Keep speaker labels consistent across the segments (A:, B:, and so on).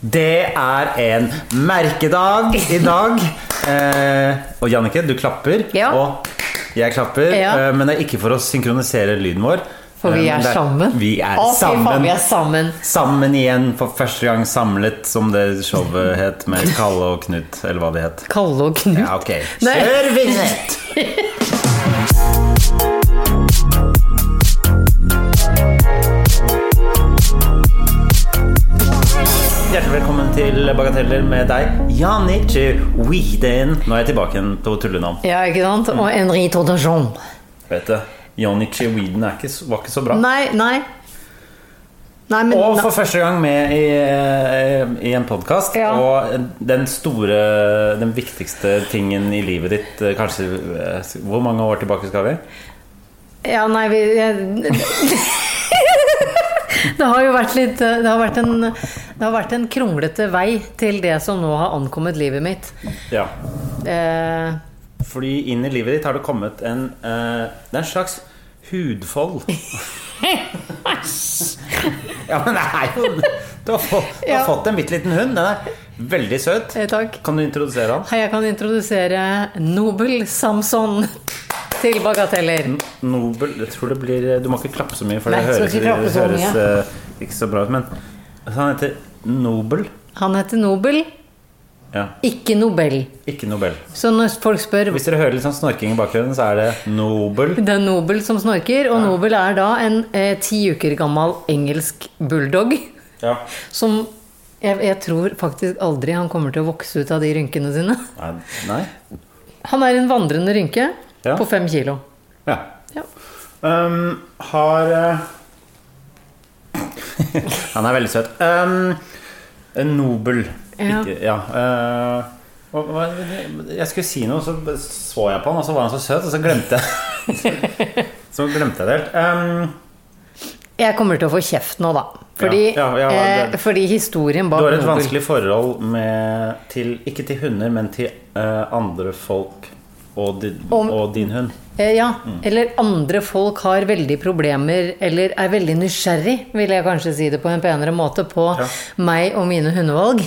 A: Det er en merkedag i dag. Eh, og Jannicke, du klapper.
B: Ja.
A: Og jeg klapper.
B: Ja.
A: Eh, men det er ikke for å synkronisere lyden vår.
B: For vi
A: Eh,
B: er
A: det
B: sammen.
A: Vi er
B: Å, fy Faen,
A: sammen.
B: vi er sammen.
A: Sammen igjen for første gang samlet, som det showet het med Kalle og Knut, eller hva det het.
B: Kalle og Knut.
A: Ja, ok.
B: Nei.
A: Kjør vignett! Hjertelig velkommen til Bagateller med deg, Janice Weeden. Nå er jeg tilbake igjen på tullenavn.
B: Ja, ikke sant? Og Henri Tordajon.
A: Vet du, Janice Weeden er ikke, s- var ikke så bra.
B: Nei, nei. Nei, men
A: Og
B: nei.
A: for første gang med i, eh, i en podkast.
B: Ja.
A: Og den store, den viktigste tingen i livet ditt eh, Kanskje eh, Hvor mange år tilbake skal vi?
B: Ja, nei, vi jeg, Det har jo vært litt eh, Det har vært en, det har vært en kronglete vei til det som nå har ankommet livet mitt.
A: Ja.
B: Eh,
A: Fordi inn i livet ditt har det kommet en eh, Det er en slags hudfold. ja, men det er jo Du har, fått, du har
B: Ja.
A: fått en bitte liten hund. Den er veldig søt.
B: eh, takk.
A: Kan du introdusere han?
B: Hei, jeg kan introdusere Nobel Samson til Bagateller.
A: Nobel jeg tror det blir, Du må ikke klappe så mye, for
B: Nei,
A: det høres,
B: skal ikke klappe
A: det
B: så
A: høres
B: mye.
A: eh, ikke så bra ut. Men altså, han heter Nobel.
B: Han heter Nobel,
A: Ja,
B: ikke Nobel.
A: ikke Nobel.
B: Så når folk spør
A: Hvis dere hører litt sånn snorking i bakgrunnen, så er det Nobel.
B: Det er Nobel som snorker, og Nobel er da en eh, ti uker gammel engelsk bulldog
A: Ja.
B: som jeg, jeg tror faktisk aldri han kommer til å vokse ut av de rynkene sine.
A: Nei. nei.
B: Han er en vandrende rynke
A: Ja.
B: på fem kilo.
A: Ja.
B: Ja.
A: Um, har eh, Han er veldig søt. Um, en Nobel.
B: Ja.
A: Ikke, ja eh, hva- hva- jeg skulle si noe, så så jeg på han, og så var han så søt, og så glemte jeg Så glemte jeg det helt. Um,
B: Jeg kommer til å få kjeft nå, da. Fordi,
A: Ja, ja, ja, det-
B: eh, fordi historien
A: Du
B: bak
A: har et
B: Nobel
A: vanskelig forhold med til, Ikke til hunder, men til eh, andre folk og din,
B: Om-
A: og din hund.
B: eh, Ja,
A: Mm.
B: eller andre folk har veldig problemer, eller er veldig nysgjerrig, vil jeg kanskje si det på en penere måte, på
A: Ja. Mm.
B: meg og mine hundevalg.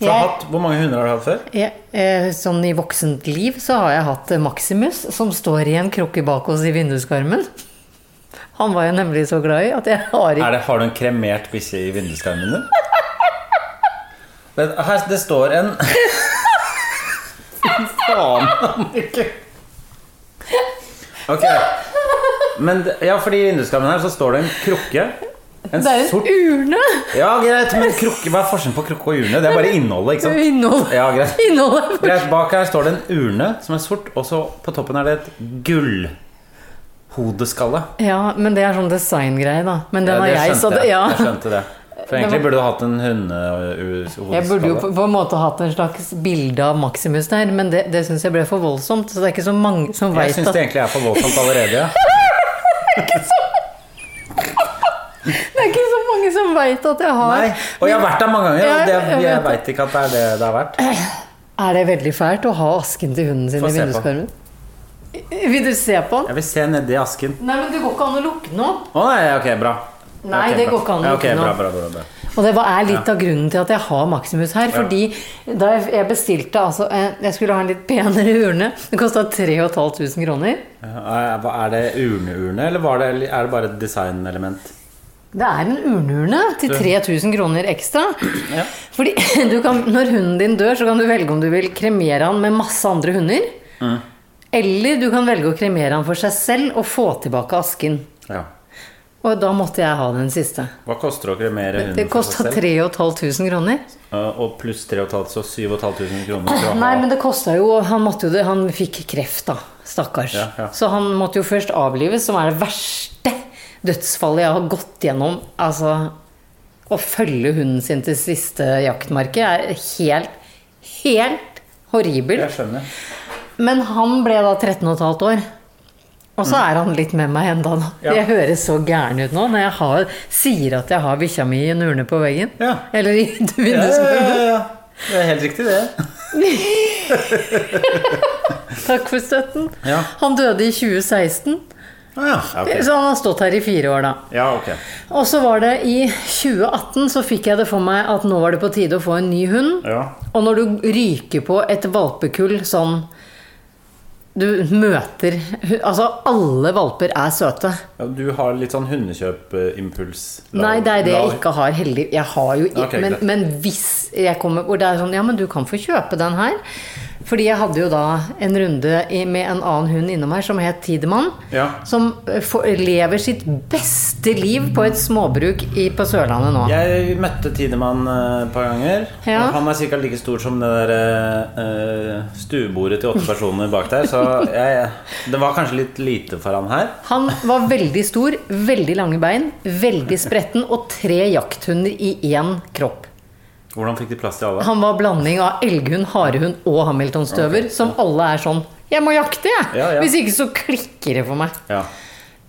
A: Så har hatt, hvor mange hunder har du hatt før?
B: Ja, eh, sånn i voksent liv så har jeg hatt eh, Maximus, som står i en krukke bak oss i vinduskarmen. Han var jeg nemlig så glad i at jeg har ikke
A: Er det, har du en kremert bikkje i vinduskarmen din? Men her, det står en Fy faen, Annike. Ok. Men det- ja, fordi i vinduskarmen her så står det en krukke. En
B: Det er en
A: sort
B: urne!
A: Ja, greit, men krukke, hva er forskjellen på krukke og urne? Det er bare innholdet, ikke sant?
B: Innholdet
A: Ja, greit.
B: innholdet er-
A: Greit, bak her står det en urne som er sort, og så på toppen er det et gullhodeskalle.
B: Ja, men det er sånn designgreie, da. Men den
A: Ja,
B: har
A: det
B: jeg, så
A: skjønte
B: det, ja.
A: Jeg skjønte det. For egentlig burde du hatt en hundehodeskalle.
B: Jeg burde jo på, på en måte hatt en slags bilde av Maximus der, men det, det syns jeg ble for voldsomt. Så det er ikke så mange som
A: Jeg
B: veit
A: syns
B: at
A: det egentlig er for voldsomt allerede.
B: Det er ikke så mange som vet at jeg har
A: Nei. Og jeg har vært der mange ganger, og det,
B: Ja, jeg
A: jeg,
B: vet
A: veit ikke at det er det det er verdt.
B: Er det veldig fælt å ha asken til hunden sin
A: Få
B: i
A: se på.
B: vinduskarmen? Vil du se på den?
A: Jeg vil se nedi asken.
B: Nei, men det går ikke an å lukke den opp.
A: Å nei, ok, bra.
B: Nei,
A: Ok,
B: det
A: bra.
B: går ikke an å
A: Ja, ok,
B: lukke nå.
A: bra, bra, bra, bra.
B: Og det var- er litt av grunnen til at jeg har Maximus her. Fordi da jeg- jeg bestilte altså eh, Jeg skulle ha en litt penere urne. Den kosta 3500 kroner.
A: Ja, hva- Er det urneurne, eller var det, eller er det bare et designelement?
B: Det er en urneurne til 3000 kroner ekstra.
A: Ja.
B: Fordi du kan, når hunden din dør, så kan du velge om du vil kremere han med masse andre hunder.
A: Mm.
B: Eller du kan velge å kremere han for seg selv og få tilbake asken.
A: ja.
B: Og da måtte jeg ha den siste.
A: Hva koster det å kremere hunden
B: Det
A: for
B: kosta
A: seg selv?
B: 3500 kroner.
A: Eh, Og pluss 3500, så 7500 kroner. for å ha-
B: Nei, men det kosta jo Han, måtte jo det, han fikk kreft, da. Stakkars.
A: Ja, ja.
B: Så han måtte jo først avlives, som er det verste dødsfallet jeg har gått gjennom. Altså Å følge hunden sin til siste jaktmarke er helt, helt horribelt.
A: Jeg skjønner.
B: Men han ble da 13 15 år. Og så er han litt med meg enda da.
A: Mm. Ja.
B: Jeg høres så gæren ut nå når jeg har, sier at jeg har bikkja mi i en urne på veggen.
A: Ja.
B: Eller i
A: Ja, ja,
B: vinduskarmen.
A: ja, ja. Det er helt riktig, det.
B: Takk for støtten.
A: Ja.
B: Han døde i 2016.
A: Å ja. ja. ok.
B: Så han har stått her i fire år, da.
A: Ja, ok.
B: Og så var det i 2018 så fikk jeg det for meg at nå var det på tide å få en ny hund.
A: Ja.
B: Og når du ryker på et valpekull sånn Du møter Altså, alle valper er søte.
A: ja. Du har litt sånn hundekjøpimpuls.
B: Nei, det er det jeg ikke har. Heldig. Jeg har jo ikke
A: Ok,
B: men,
A: greit.
B: men hvis jeg kommer Hvor det er sånn Ja, men du kan få kjøpe den her. Fordi jeg hadde jo da en runde i- med en annen hund innom her som het Tidemann.
A: Ja.
B: Som eh, får- lever sitt beste liv på et småbruk i, på Sørlandet nå.
A: Jeg møtte Tidemann eh, et par ganger.
B: Ja.
A: Og han er sikkert like stor som det der eh, eh, stuebordet til åtte personer bak der. Så jeg, det var kanskje litt lite for han her.
B: Han var veldig stor, veldig lange bein, veldig spretten og tre jakthunder i én kropp.
A: Hvordan fikk de plass til alle?
B: Han var blanding av elghund, harehund og Hamilton-støver, som alle er sånn 'Jeg må jakte, jeg!'
A: Ja, ja.
B: Hvis ikke så klikker det for meg.
A: Ja,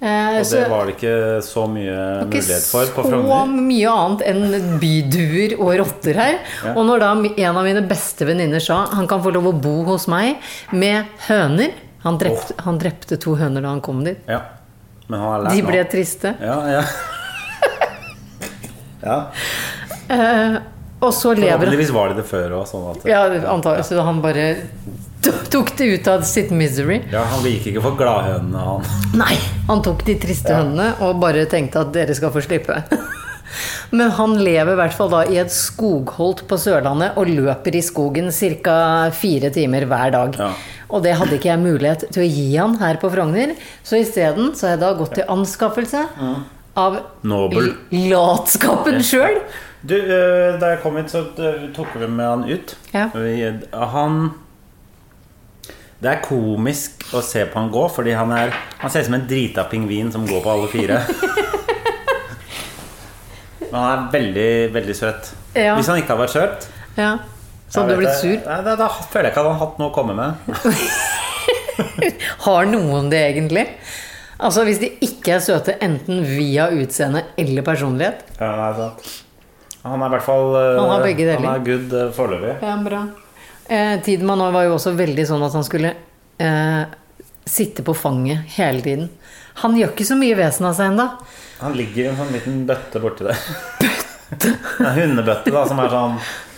B: Eh,
A: Og
B: så
A: det var det ikke så mye
B: ikke
A: mulighet for på
B: så
A: Frogner.
B: mye annet enn byduer og rotter her.
A: Ja.
B: Og når da en av mine beste venninner sa 'Han kan få lov å bo hos meg med høner' Han drepte, han drepte to høner da han kom dit.
A: Ja. Men han har lært
B: De
A: nå.
B: ble triste.
A: Ja, ja. ja.
B: Og så lever han
A: Forhåpentligvis var de det før òg. Sånn at-
B: Ja, antagelig. Så han bare to- tok det ut av sitt misery.
A: ja, han gikk ikke for gladhønene, han.
B: Nei! Han tok de triste hønene og bare tenkte at dere skal få slippe. Men han lever i hvert fall da i et skogholt på Sørlandet og løper i skogen ca. fire timer hver dag.
A: Ja.
B: Og det hadde ikke jeg mulighet til å gi han her på Frogner, så isteden så har jeg da gått til anskaffelse av
A: Nobel.
B: l- latskapen sjøl.
A: Du, eh, da jeg kom hit, så eh, tok vi med han ut.
B: Ja.
A: Vi, eh, han Det er komisk å se på han gå, fordi han er Han ser ut som en drita pingvin som går på alle fire. Men han er veldig, veldig søt.
B: Ja.
A: Hvis han ikke hadde vært søt
B: Ja.
A: jeg
B: Så hadde du
A: vet
B: blitt
A: det-
B: sur.
A: Nei, da, da føler jeg ikke at han hadde hatt noe å komme med.
B: Har noen det egentlig? Altså Hvis de ikke er søte enten via utseende eller personlighet.
A: Ja, nei, sant. Han er i hvert fall eh,
B: Han har begge deler.
A: Han er good eh, foreløpig.
B: Ja, bra. Eh, Tidemann nå var jo også veldig sånn at han skulle eh, sitte på fanget hele tiden. Han gjør ikke så mye vesen av seg ennå.
A: Han ligger i en sånn liten bøtte borti der. En hundebøtte, da, som er sånn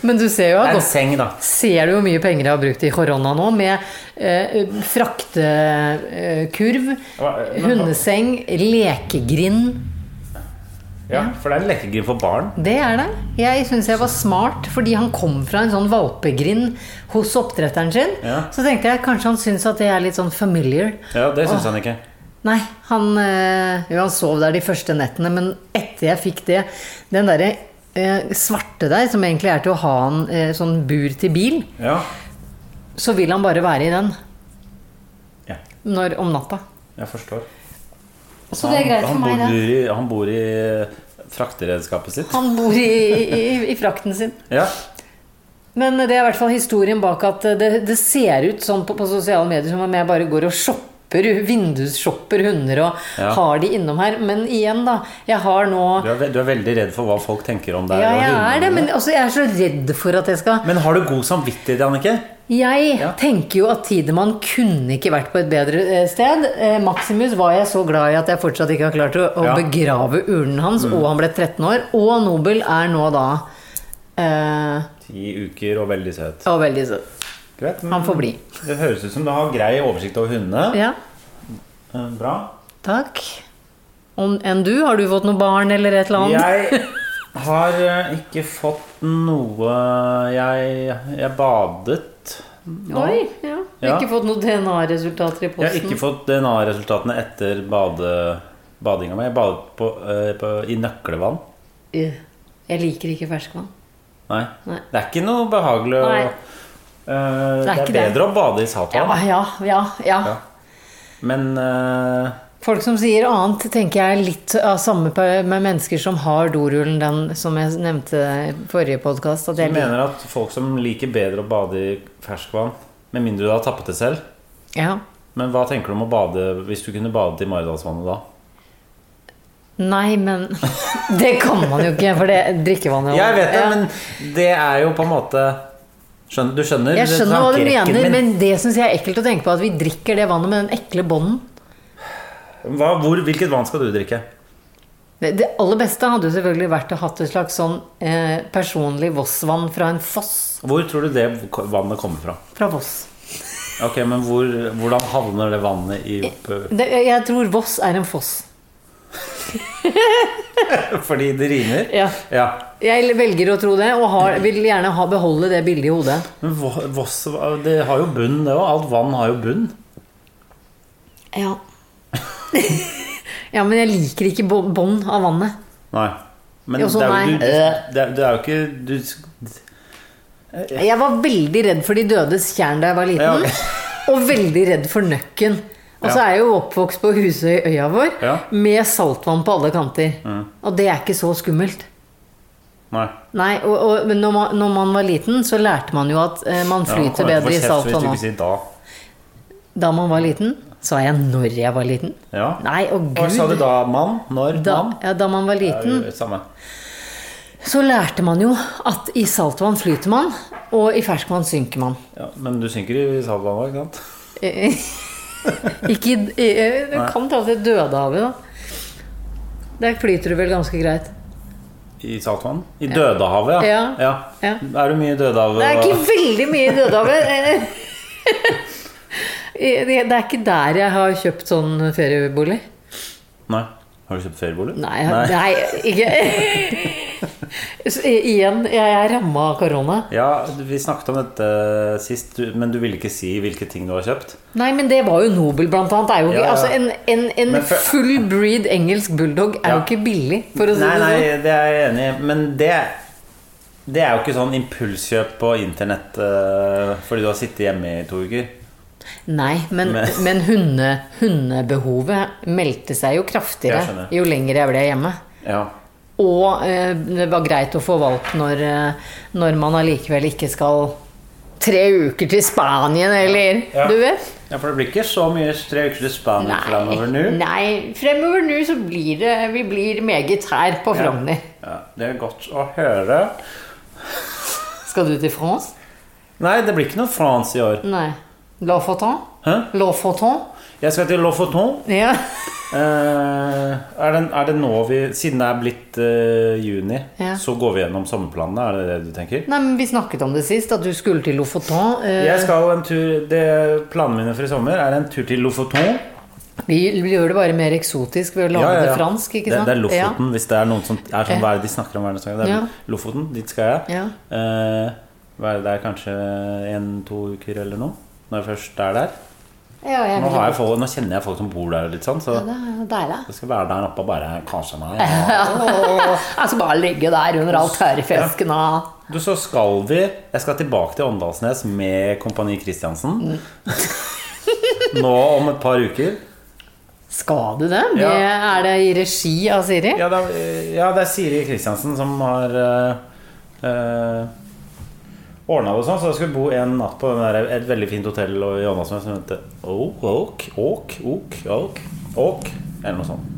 B: Men du ser jo
A: Det
B: at
A: er en
B: også,
A: seng, da.
B: ser du hvor mye penger jeg har brukt i korona nå, med eh, fraktekurv,
A: Hva- eh, men-
B: hundeseng, lekegrind.
A: Ja, for det er en lekegrind for barn.
B: Det er det. Jeg syns jeg var smart, fordi han kom fra en sånn valpegrind hos oppdretteren sin.
A: Ja.
B: Så tenkte jeg kanskje han syns at det er litt sånn familiar.
A: Ja, det syns han ikke.
B: Nei, han, eh, jo, han sov der de første nettene, men etter jeg fikk det Den derre eh, svarte der, som egentlig er til å ha en eh, sånn bur til bil,
A: Ja.
B: så vil han bare være i den
A: ja
B: når, om natta.
A: jeg forstår.
B: Så det er greit for
A: han,
B: meg,
A: han
B: det.
A: bor i, han bor i eh, frakteredskapet sitt.
B: Han bor i, i, i frakten sin.
A: Ja.
B: Men det er i hvert fall historien bak at det, det ser ut sånn på, på sosiale medier som om jeg bare går og shopper, vindusshopper hunder og
A: Ja.
B: har de innom her. Men igjen, da. Jeg har nå
A: Du, er, ve- du er veldig redd for hva folk tenker om deg.
B: Ja,
A: og
B: jeg
A: hundene
B: er det,
A: dine.
B: men altså, jeg er så redd for at jeg skal
A: Men har du god samvittighet, Jannicke?
B: Jeg
A: Ja.
B: tenker jo at Tidemann kunne ikke vært på et bedre eh, sted. Eh, Maximus var jeg så glad i at jeg fortsatt ikke har klart å, å
A: Ja. Mm.
B: begrave urnen hans, og han ble 13 år. Og Nobel er nå da eh,
A: Ti uker og veldig søt.
B: Og veldig søt.
A: Greit. men
B: Han får bli.
A: Det høres ut som du har grei oversikt over hundene.
B: Ja.
A: Eh, Bra.
B: Takk. Om enn du? Har du fått noe barn eller et eller annet?
A: Jeg har eh, ikke fått noe Jeg, jeg badet.
B: Oi, ja.
A: Ja.
B: Ikke fått noen DNA-resultater i
A: Jeg har
B: posten?
A: ikke fått DNA-resultatene etter bade, badinga mi. Jeg badet på, eh, på, i nøklevann.
B: Eh, Jeg liker ikke ferskvann.
A: Nei.
B: Nei.
A: Det er ikke noe behagelig å
B: Nei.
A: Eh,
B: Det
A: Det
B: er
A: er
B: ikke det.
A: bedre å bade i saltvann.
B: Ja, ja, ja, ja.
A: Ja. Men eh,
B: Folk som sier annet, tenker jeg er litt av samme pe- med mennesker som har dorullen, den som jeg nevnte i forrige podkast.
A: jeg mener at folk som liker bedre å bade i ferskvann, med mindre du har tappet det selv
B: Ja.
A: Men hva tenker du om å bade hvis du kunne badet i Maridalsvannet da?
B: Nei, men Det kan man jo ikke, for det drikkevannet
A: Jeg vet det,
B: Ja.
A: men det er jo på en måte skjønner, Du skjønner
B: Jeg skjønner hva du
A: tankerekken
B: mener,
A: min?
B: men det syns jeg er ekkelt å tenke på. At vi drikker det vannet med den ekle bånden.
A: Hva, hvor, hvilket vann skal du drikke?
B: Det det aller beste hadde jo selvfølgelig vært å hatt et slags sånn eh, personlig Voss-vann fra en foss.
A: Hvor tror du det vannet kommer fra?
B: Fra Voss.
A: Ok, men hvor, Hvordan havner det vannet i opp-
B: Det, jeg tror Voss er en foss.
A: Fordi det rimer?
B: Ja.
A: ja.
B: Jeg velger å tro det, og har, vil gjerne ha, beholde det bildet i hodet.
A: Men Vo- Voss det har jo bunn, det òg. Alt vann har jo bunn.
B: Ja. ja, men jeg liker ikke bå- bånd av vannet.
A: Nei. Men
B: Jo, sånn
A: det, er jo,
B: nei.
A: du, det, er, det er jo ikke du,
B: Jeg var veldig redd for de dødes tjern da jeg var
A: Ja,
B: liten.
A: ok.
B: Og veldig redd for nøkken. Og så
A: Ja.
B: er jeg jo oppvokst på Husøy, øya vår,
A: Ja. Mm.
B: med saltvann på alle kanter. Og det er ikke så skummelt.
A: Nei.
B: Nei, og, og, men når man, når man var liten, så lærte man jo at eh, man
A: Ja, nå
B: flyter
A: kommer jeg til å få
B: bedre i
A: kjeft Hvis
B: saltvann
A: du
B: nå.
A: ikke sier da.
B: Da man var liten, sa jeg når jeg var liten.
A: Ja.
B: Nei, og
A: Hva sa du
B: gud.
A: da? Mann? Når?
B: Da, Mm.
A: mann?
B: ja, da man var
A: Det er
B: liten,
A: jo Samme.
B: så lærte man jo at i saltvann flyter man, og i ferskvann synker man.
A: Ja, men du synker i saltvann òg, ikke sant?
B: Eh, Ikke i eh, Du
A: Nei.
B: kan ta til Dødehavet, da. Der flyter du vel ganske greit.
A: I saltvann? I Dødehavet, ja.
B: Ja. Ja.
A: Er du mye i Dødehavet?
B: Det er ikke veldig mye i Dødehavet. eh. Eh, Det det er ikke der jeg har kjøpt sånn feriebolig.
A: Nei. Har du kjøpt feriebolig?
B: Nei, jeg- nei ikke Så, eh, Igjen, jeg er ramma av korona.
A: Ja, vi snakket om dette sist, du- men du ville ikke si hvilke ting du har kjøpt.
B: Nei, men det var jo Nobel, blant annet. Det Er jo ikke,
A: Ja, ja.
B: Altså, en en, en
A: Men for-
B: full breed engelsk bulldog er jo
A: Ja.
B: ikke billig, for å si
A: Nei,
B: det sånn.
A: nei, det er jeg enig i, men det det er jo ikke sånn impulskjøp på internett eh, fordi du har sittet hjemme i to uker.
B: Nei, men, men.
A: Men-
B: hunde, hundebehovet meldte seg jo
A: Jeg
B: kraftigere
A: skjønner.
B: jo lenger jeg ble hjemme.
A: Ja.
B: Og eh, det var greit å få valgt når, eh, når man allikevel ikke skal tre uker til Spanien, eller
A: Ja.
B: Du vet?
A: ja, for det blir ikke så mye tre uker til Spania framover nå.
B: Nei. Fremover nå så blir det Vi blir meget her på Frogner.
A: Ja, det er godt å høre.
B: Skal du til France?
A: Nei, det blir ikke noe France i år.
B: Nei. La Fontaine?
A: Hæ?
B: La Fontaine?
A: Jeg skal til Lofoten.
B: Ja.
A: Eh, er, det, er det nå vi Siden det er blitt eh, juni,
B: Ja.
A: så går vi gjennom sommerplanene? Er det det du tenker?
B: Nei, men vi snakket om det sist, at du skulle til Lofoten. Eh,
A: Jeg skal en tur det, Planene mine for i sommer er en tur til Lofoten.
B: Vi vi gjør det bare mer eksotisk ved å lage det fransk, ikke
A: Det,
B: sant?
A: det er Lofoten.
B: Ja.
A: Hvis det er noen som er sånn,
B: Ja.
A: Hva er det de snakker om hver eneste gang? Det er
B: Ja.
A: Lofoten. Dit skal jeg.
B: Ja.
A: Eh, hva er det, det er kanskje en-to uker eller noe. Når jeg først er der.
B: Ja, jeg
A: Nå,
B: vil-
A: har jeg folk, nå kjenner jeg folk som bor der, og litt sånn, så
B: Ja, det er deilig.
A: jeg skal være der oppe og bare kanskje meg.
B: Jeg skal bare ligge der under all tørrfisken og
A: Du, så skal vi Jeg skal tilbake til Åndalsnes med Kompani
B: Mm.
A: Kristiansen. Nå om et par uker.
B: Skal du det? Vi-
A: Ja.
B: Er det i regi av Siri?
A: Ja, det er, ja, det er Siri Kristiansen som har uh, ordna det sånn. Så jeg skulle bo en natt på den der, et veldig fint hotell og i Åndalsnes som heter Oak, Oak, Oak, Oak, Oak, Oak eller noe sånt.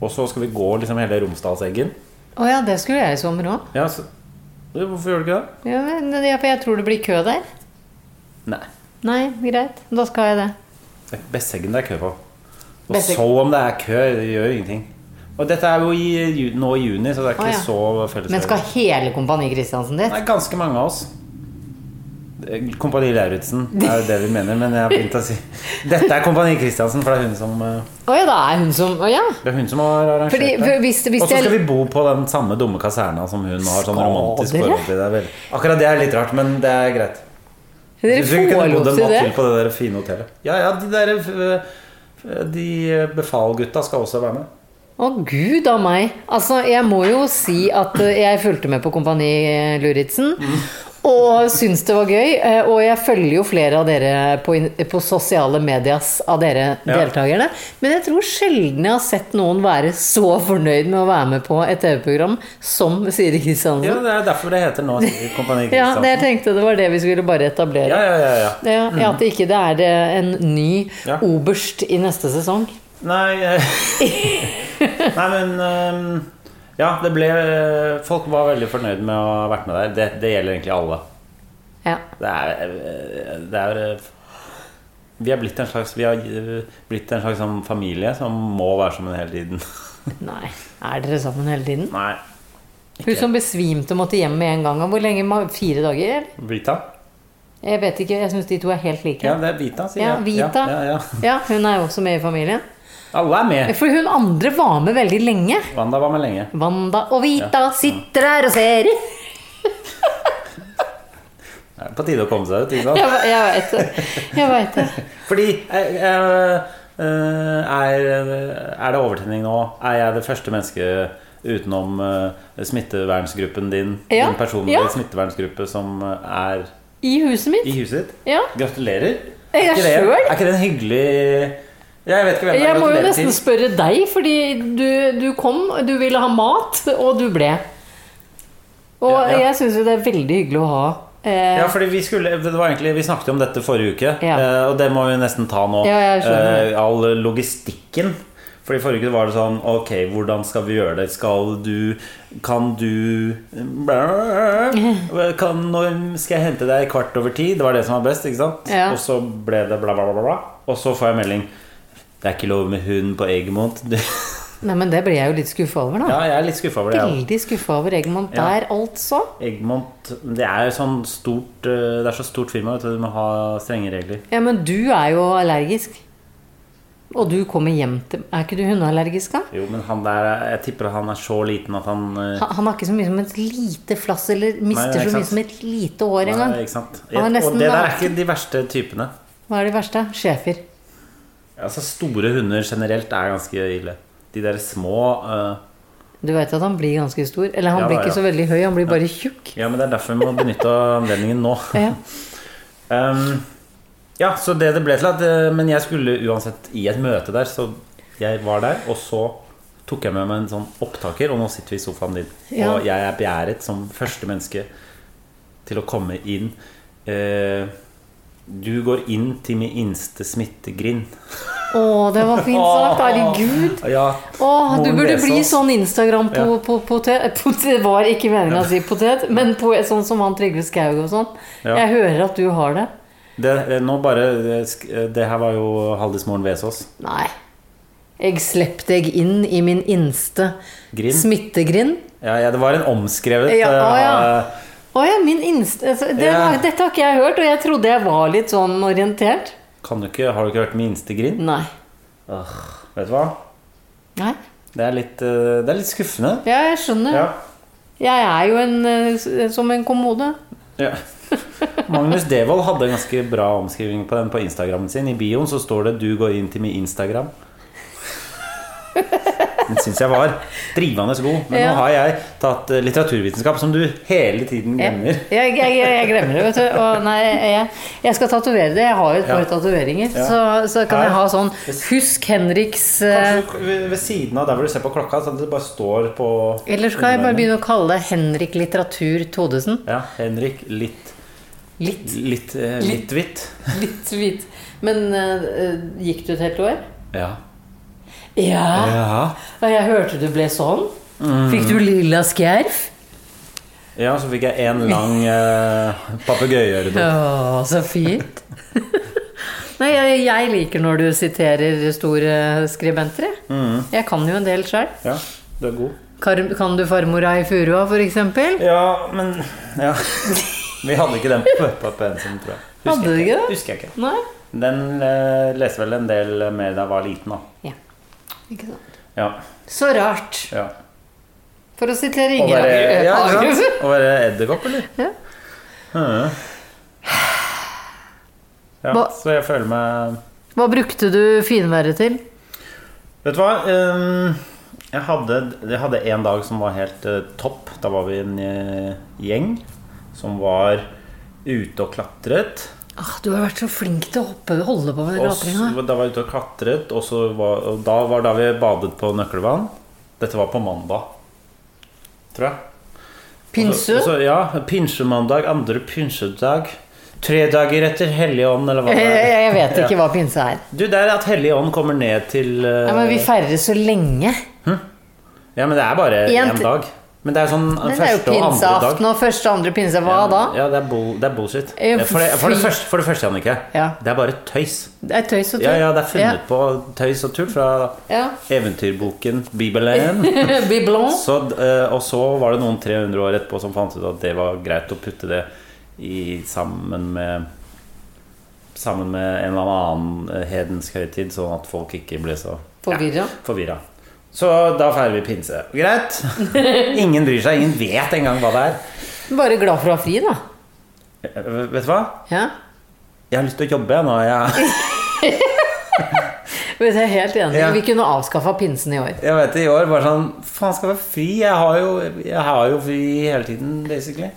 A: Og så skal vi gå liksom hele Romsdalseggen.
B: Å ja, det skulle jeg i sommer òg.
A: Ja, så, hvorfor gjør du ikke det?
B: Ja, men det er for jeg tror det blir kø der.
A: Nei.
B: Nei, greit. Da skal jeg det.
A: Det er Besseggen det er kø på. Og
B: Besseggen.
A: så om det er kø, det gjør ingenting. Og dette er jo i, ju- nå i juni, så det er ikke
B: Å, ja.
A: så felles.
B: Men skal hele Kompani Kristiansen dit?
A: Det er ganske mange av oss. Eh, Kompani Lauritzen er jo det vi mener, men jeg har begynt å si Dette er Kompani Kristiansen, for det er hun som, eh,
B: Å ja, da er hun som Å ja.
A: det er hun som har arrangert
B: Fordi, for hvis,
A: det.
B: hvis
A: Og så
B: jeg-
A: skal vi bo på den samme dumme kaserna som hun har sånn
B: Skal
A: romantisk
B: dere?
A: forhold til. Det er vel- Akkurat det er litt rart, men det er greit.
B: Dere
A: Hvis vi kunne
B: får
A: bodd
B: lov
A: en
B: til
A: natt
B: det.
A: til på det der fine hotellet. Ja, ja, de der eh, De befalgutta skal også være med.
B: Å gud a meg. Altså, jeg må jo si at eh, jeg fulgte med på Kompani eh, Lauritzen. Og syns det var gøy. eh, Og jeg følger jo flere av dere på, in- på sosiale medias av dere
A: Ja.
B: deltakerne. Men jeg tror sjelden jeg har sett noen være så fornøyd med å være med på et TV-program som Siri
A: Ja,
B: Kristiansen.
A: Det er derfor det heter nå sikkert Kompani
B: Ja, det jeg
A: Kristiansen.
B: tenkte det var det vi skulle bare etablere.
A: Ja, ja, ja, ja.
B: Ja, ja, At ikke det er eh, en ny
A: Ja.
B: oberst i neste sesong.
A: Nei eh, Nei, men ehm, Ja, det ble eh, Folk var veldig fornøyd med å ha vært med der. Det, det gjelder egentlig alle.
B: Ja.
A: Det er, eh, det er eh, Vi er blitt en slags, vi har eh, blitt en slags sånn familie som må være sammen hele tiden.
B: Nei. Er dere sammen hele tiden?
A: Nei.
B: Hun som besvimte og måtte hjem med en gang. og Hvor lenge? ma- Fire dager? eller?
A: Vita?
B: Jeg vet ikke. Jeg syns de to er helt like.
A: Ja,
B: Ja,
A: det er Vita, sier jeg.
B: Vita.
A: Ja, ja,
B: Hun er jo også med i familien.
A: ja. Alle er med.
B: For hun andre var med veldig lenge.
A: Wanda var med lenge.
B: Wanda og Vita
A: Ja.
B: sitter her og ser
A: Det er på tide å komme seg ut. ikke sant?
B: Jeg, ve- jeg veit det. Jeg vet det.
A: Fordi eh, eh, eh, er, eh, er det overtenning nå? Er jeg det første mennesket utenom eh, smittevernsgruppen din,
B: Ja,
A: din personlige
B: ja.
A: smittevernsgruppe, som eh, er
B: I huset mitt.
A: i huset ditt?
B: Ja.
A: Gratulerer.
B: Jeg
A: ikke det,
B: selv.
A: er ikke det en hyggelig Jeg vet ikke hvem det
B: Jeg
A: er.
B: må jo
A: Gratulerer
B: nesten
A: til.
B: spørre deg, fordi du, du kom, du ville ha mat, og du ble. Og
A: Ja, ja.
B: jeg syns jo det er veldig hyggelig å ha eh,
A: Ja, fordi vi, skulle, det var egentlig, vi snakket jo om dette forrige uke,
B: Ja.
A: eh, og det må vi nesten ta nå.
B: Ja, jeg skjønner.
A: Eh, all logistikken. Fordi forrige uke var det sånn Ok, hvordan skal vi gjøre det? Skal du Kan du kan, Når skal jeg hente deg kvart over ti? Det var det som var best, ikke sant?
B: Ja.
A: Og så ble det bla, bla, bla, bla. Og så får jeg melding Det er ikke lov med hund på Egmont. Du-
B: Nei, men det ble jeg jo litt skuffa over, da.
A: Ja, jeg er litt skuffa over det. jeg også.
B: Veldig skuffa over Egmont
A: Ja.
B: der, altså.
A: Egmont Det er jo sånn stort eh, Det er så stort firma, vet du. Du må ha strenge regler.
B: Ja, men du er jo allergisk. Og du kommer hjem til Er ikke du hundeallergisk, da?
A: Jo, men han der, jeg tipper at han er så liten at han eh,
B: Han, han har ikke så mye som et lite flass, eller mister
A: Nei, ikke
B: så mye
A: sant.
B: som et lite hår engang.
A: Nei, ikke sant?
B: Han er nesten
A: Og det der er
B: naken.
A: ikke de verste typene.
B: Hva er det verste? Schæfer.
A: Altså, store hunder generelt er ganske ille. De der små eh,
B: Du veit at han blir ganske stor? Eller
A: Ja,
B: han blir
A: da,
B: ikke
A: ja.
B: så veldig høy, han blir bare tjukk.
A: Ja, men det er derfor vi må benytte av anledningen nå.
B: Ja.
A: Um, ja, så det det ble til at eh, Men jeg skulle uansett i et møte der, så jeg var der, og så tok jeg med meg en sånn opptaker, og nå sitter vi i sofaen din.
B: Ja.
A: Og jeg er begjæret som første menneske til å komme inn. Eh, du går inn til min innste smittegrind.
B: Å, det var fint sagt. Herregud.
A: Ja,
B: Å, du
A: Moren
B: burde bli
A: Vesaas.
B: sånn Instagram på,
A: Ja.
B: på potet. Det var ikke meningen å si potet, men på, sånn som han Trygve Skaug og sånn.
A: Ja.
B: Jeg hører at du har det.
A: det, det, nå bare det, sk- eh, det her var jo Haldis Moren Vesaas.
B: Nei. Jeg slepp deg inn i min innste
A: Grind.
B: smittegrind.
A: Ja, ja, det var en omskrevet
B: Ja, å, ja.
A: eh,
B: Å ja, min innste altså, det
A: Ja.
B: var, Dette har ikke jeg hørt, og jeg trodde jeg var litt sånn orientert.
A: Kan du ikke, Har du ikke hørt min innste grind?
B: Nei.
A: Åh, vet du hva?
B: Nei.
A: Det er litt, eh, det er litt skuffende.
B: Ja, jeg skjønner.
A: Ja.
B: Jeg er jo en, eh, s- som en kommode.
A: ja. Magnus Devold hadde en ganske bra omskriving på den på Instagramen sin. I bioen så står det 'Du går inn til min Instagram'. Den syns jeg var drivende god. Men
B: Ja.
A: nå har jeg tatt eh, litteraturvitenskap, som du hele tiden glemmer.
B: Jeg, jeg, jeg, jeg glemmer det, vet du. Og nei, jeg, jeg skal tatovere det. Jeg har jo et par tatoveringer.
A: Ja.
B: Så, så kan
A: Her.
B: jeg ha sånn Husk Henriks eh,
A: Kanskje du- ved ved siden av der hvor du ser på klokka, sånn at det bare står på
B: Eller skal jeg bare begynne å kalle det Henrik Litteratur Todesen?
A: Ja, Henrik litt
B: Litt,
A: litt, eh, litt hvitt.
B: litt hvit. Men eh, gikk du et helt år?
A: Ja.
B: Ja.
A: ja. Mm.
B: Og jeg hørte du ble sånn. Fikk du lilla skjerf?
A: Ja, så fikk jeg en lang eh, papegøyeøredott.
B: Å, så fint. Nei, jeg, jeg liker når du siterer store skribenter. jeg.
A: Mm.
B: Jeg kan jo en del sjøl.
A: Ja, du er god.
B: Kar- Kan du farmora i furua, for eksempel?
A: Ja, men ja. Vi hadde ikke den på, på pensum, tror jeg.
B: Hadde du
A: jeg
B: ikke det?
A: Husker jeg ikke.
B: Nei?
A: Den eh, leste vel en del mer da jeg var liten, da.
B: Ja. Ikke sant.
A: Ja.
B: Så rart.
A: ja.
B: For å sitere
A: Og
B: Inger
A: være,
B: Hagerup.
A: ja, ikke
B: Hagerup.
A: sant? Å være edderkopp, eller?
B: Ja.
A: Mhm. Ja,
B: Hva-
A: så jeg føler meg
B: Hva brukte du finværet til?
A: Vet du hva? Ehm, Jeg hadde, jeg hadde en dag som var helt eh, topp. Da var vi en eh, gjeng som var ute og klatret.
B: Ah, du har vært så flink til å hoppe, holde på med
A: Og så,
B: rapinga.
A: da var vi ute og klatret, og, så var, og da var da vi badet på Nøkkelvann. Dette var på mandag, tror jeg.
B: Pinse.
A: Og så- ja, pinsemandag, andre pinsedag. Tre dager etter Helligånd, eller hva
B: Jeg,
A: det er.
B: Eh, jeg vet ikke hva pinse er.
A: Du, det er at Helligånd kommer ned til eh,
B: Nei, men vi feirer så lenge.
A: Ja, men det er bare
B: En
A: én
B: ti-
A: dag. Men det er sånn
B: Men det er jo
A: første og andre dag.
B: pinseaften og første og andre pinse. Hva da?
A: Ja, det er, bull, det er bullshit.
B: Eh,
A: For det, for det
B: fy-
A: første, for det første Jannicke,
B: Ja.
A: det er bare tøys.
B: Det er tøys og tull.
A: Ja, ja, det er funnet på tøys og tull fra
B: Ja.
A: eventyrboken Bibelen.
B: Biblon.
A: Så, eh, og så var det noen 300 år etterpå som fant ut at det var greit å putte det i, sammen med Sammen med en eller annen eh, hedensk høytid, sånn at folk ikke ble så
B: Forvirra.
A: Ja, forvirra. Så da feirer vi pinse. Greit. Ingen bryr seg. Ingen vet engang hva det er.
B: Bare glad for å ha fri, da.
A: Eh, Vet du hva?
B: Ja.
A: Jeg har lyst til å jobbe jeg, nå. Jeg,
B: Men jeg er helt enig.
A: Ja.
B: Vi kunne avskaffa pinsen i år.
A: jeg vet det i år bare sånn Faen, skal jeg være fri? Jeg har jo, jeg har jo fri hele tiden, basically.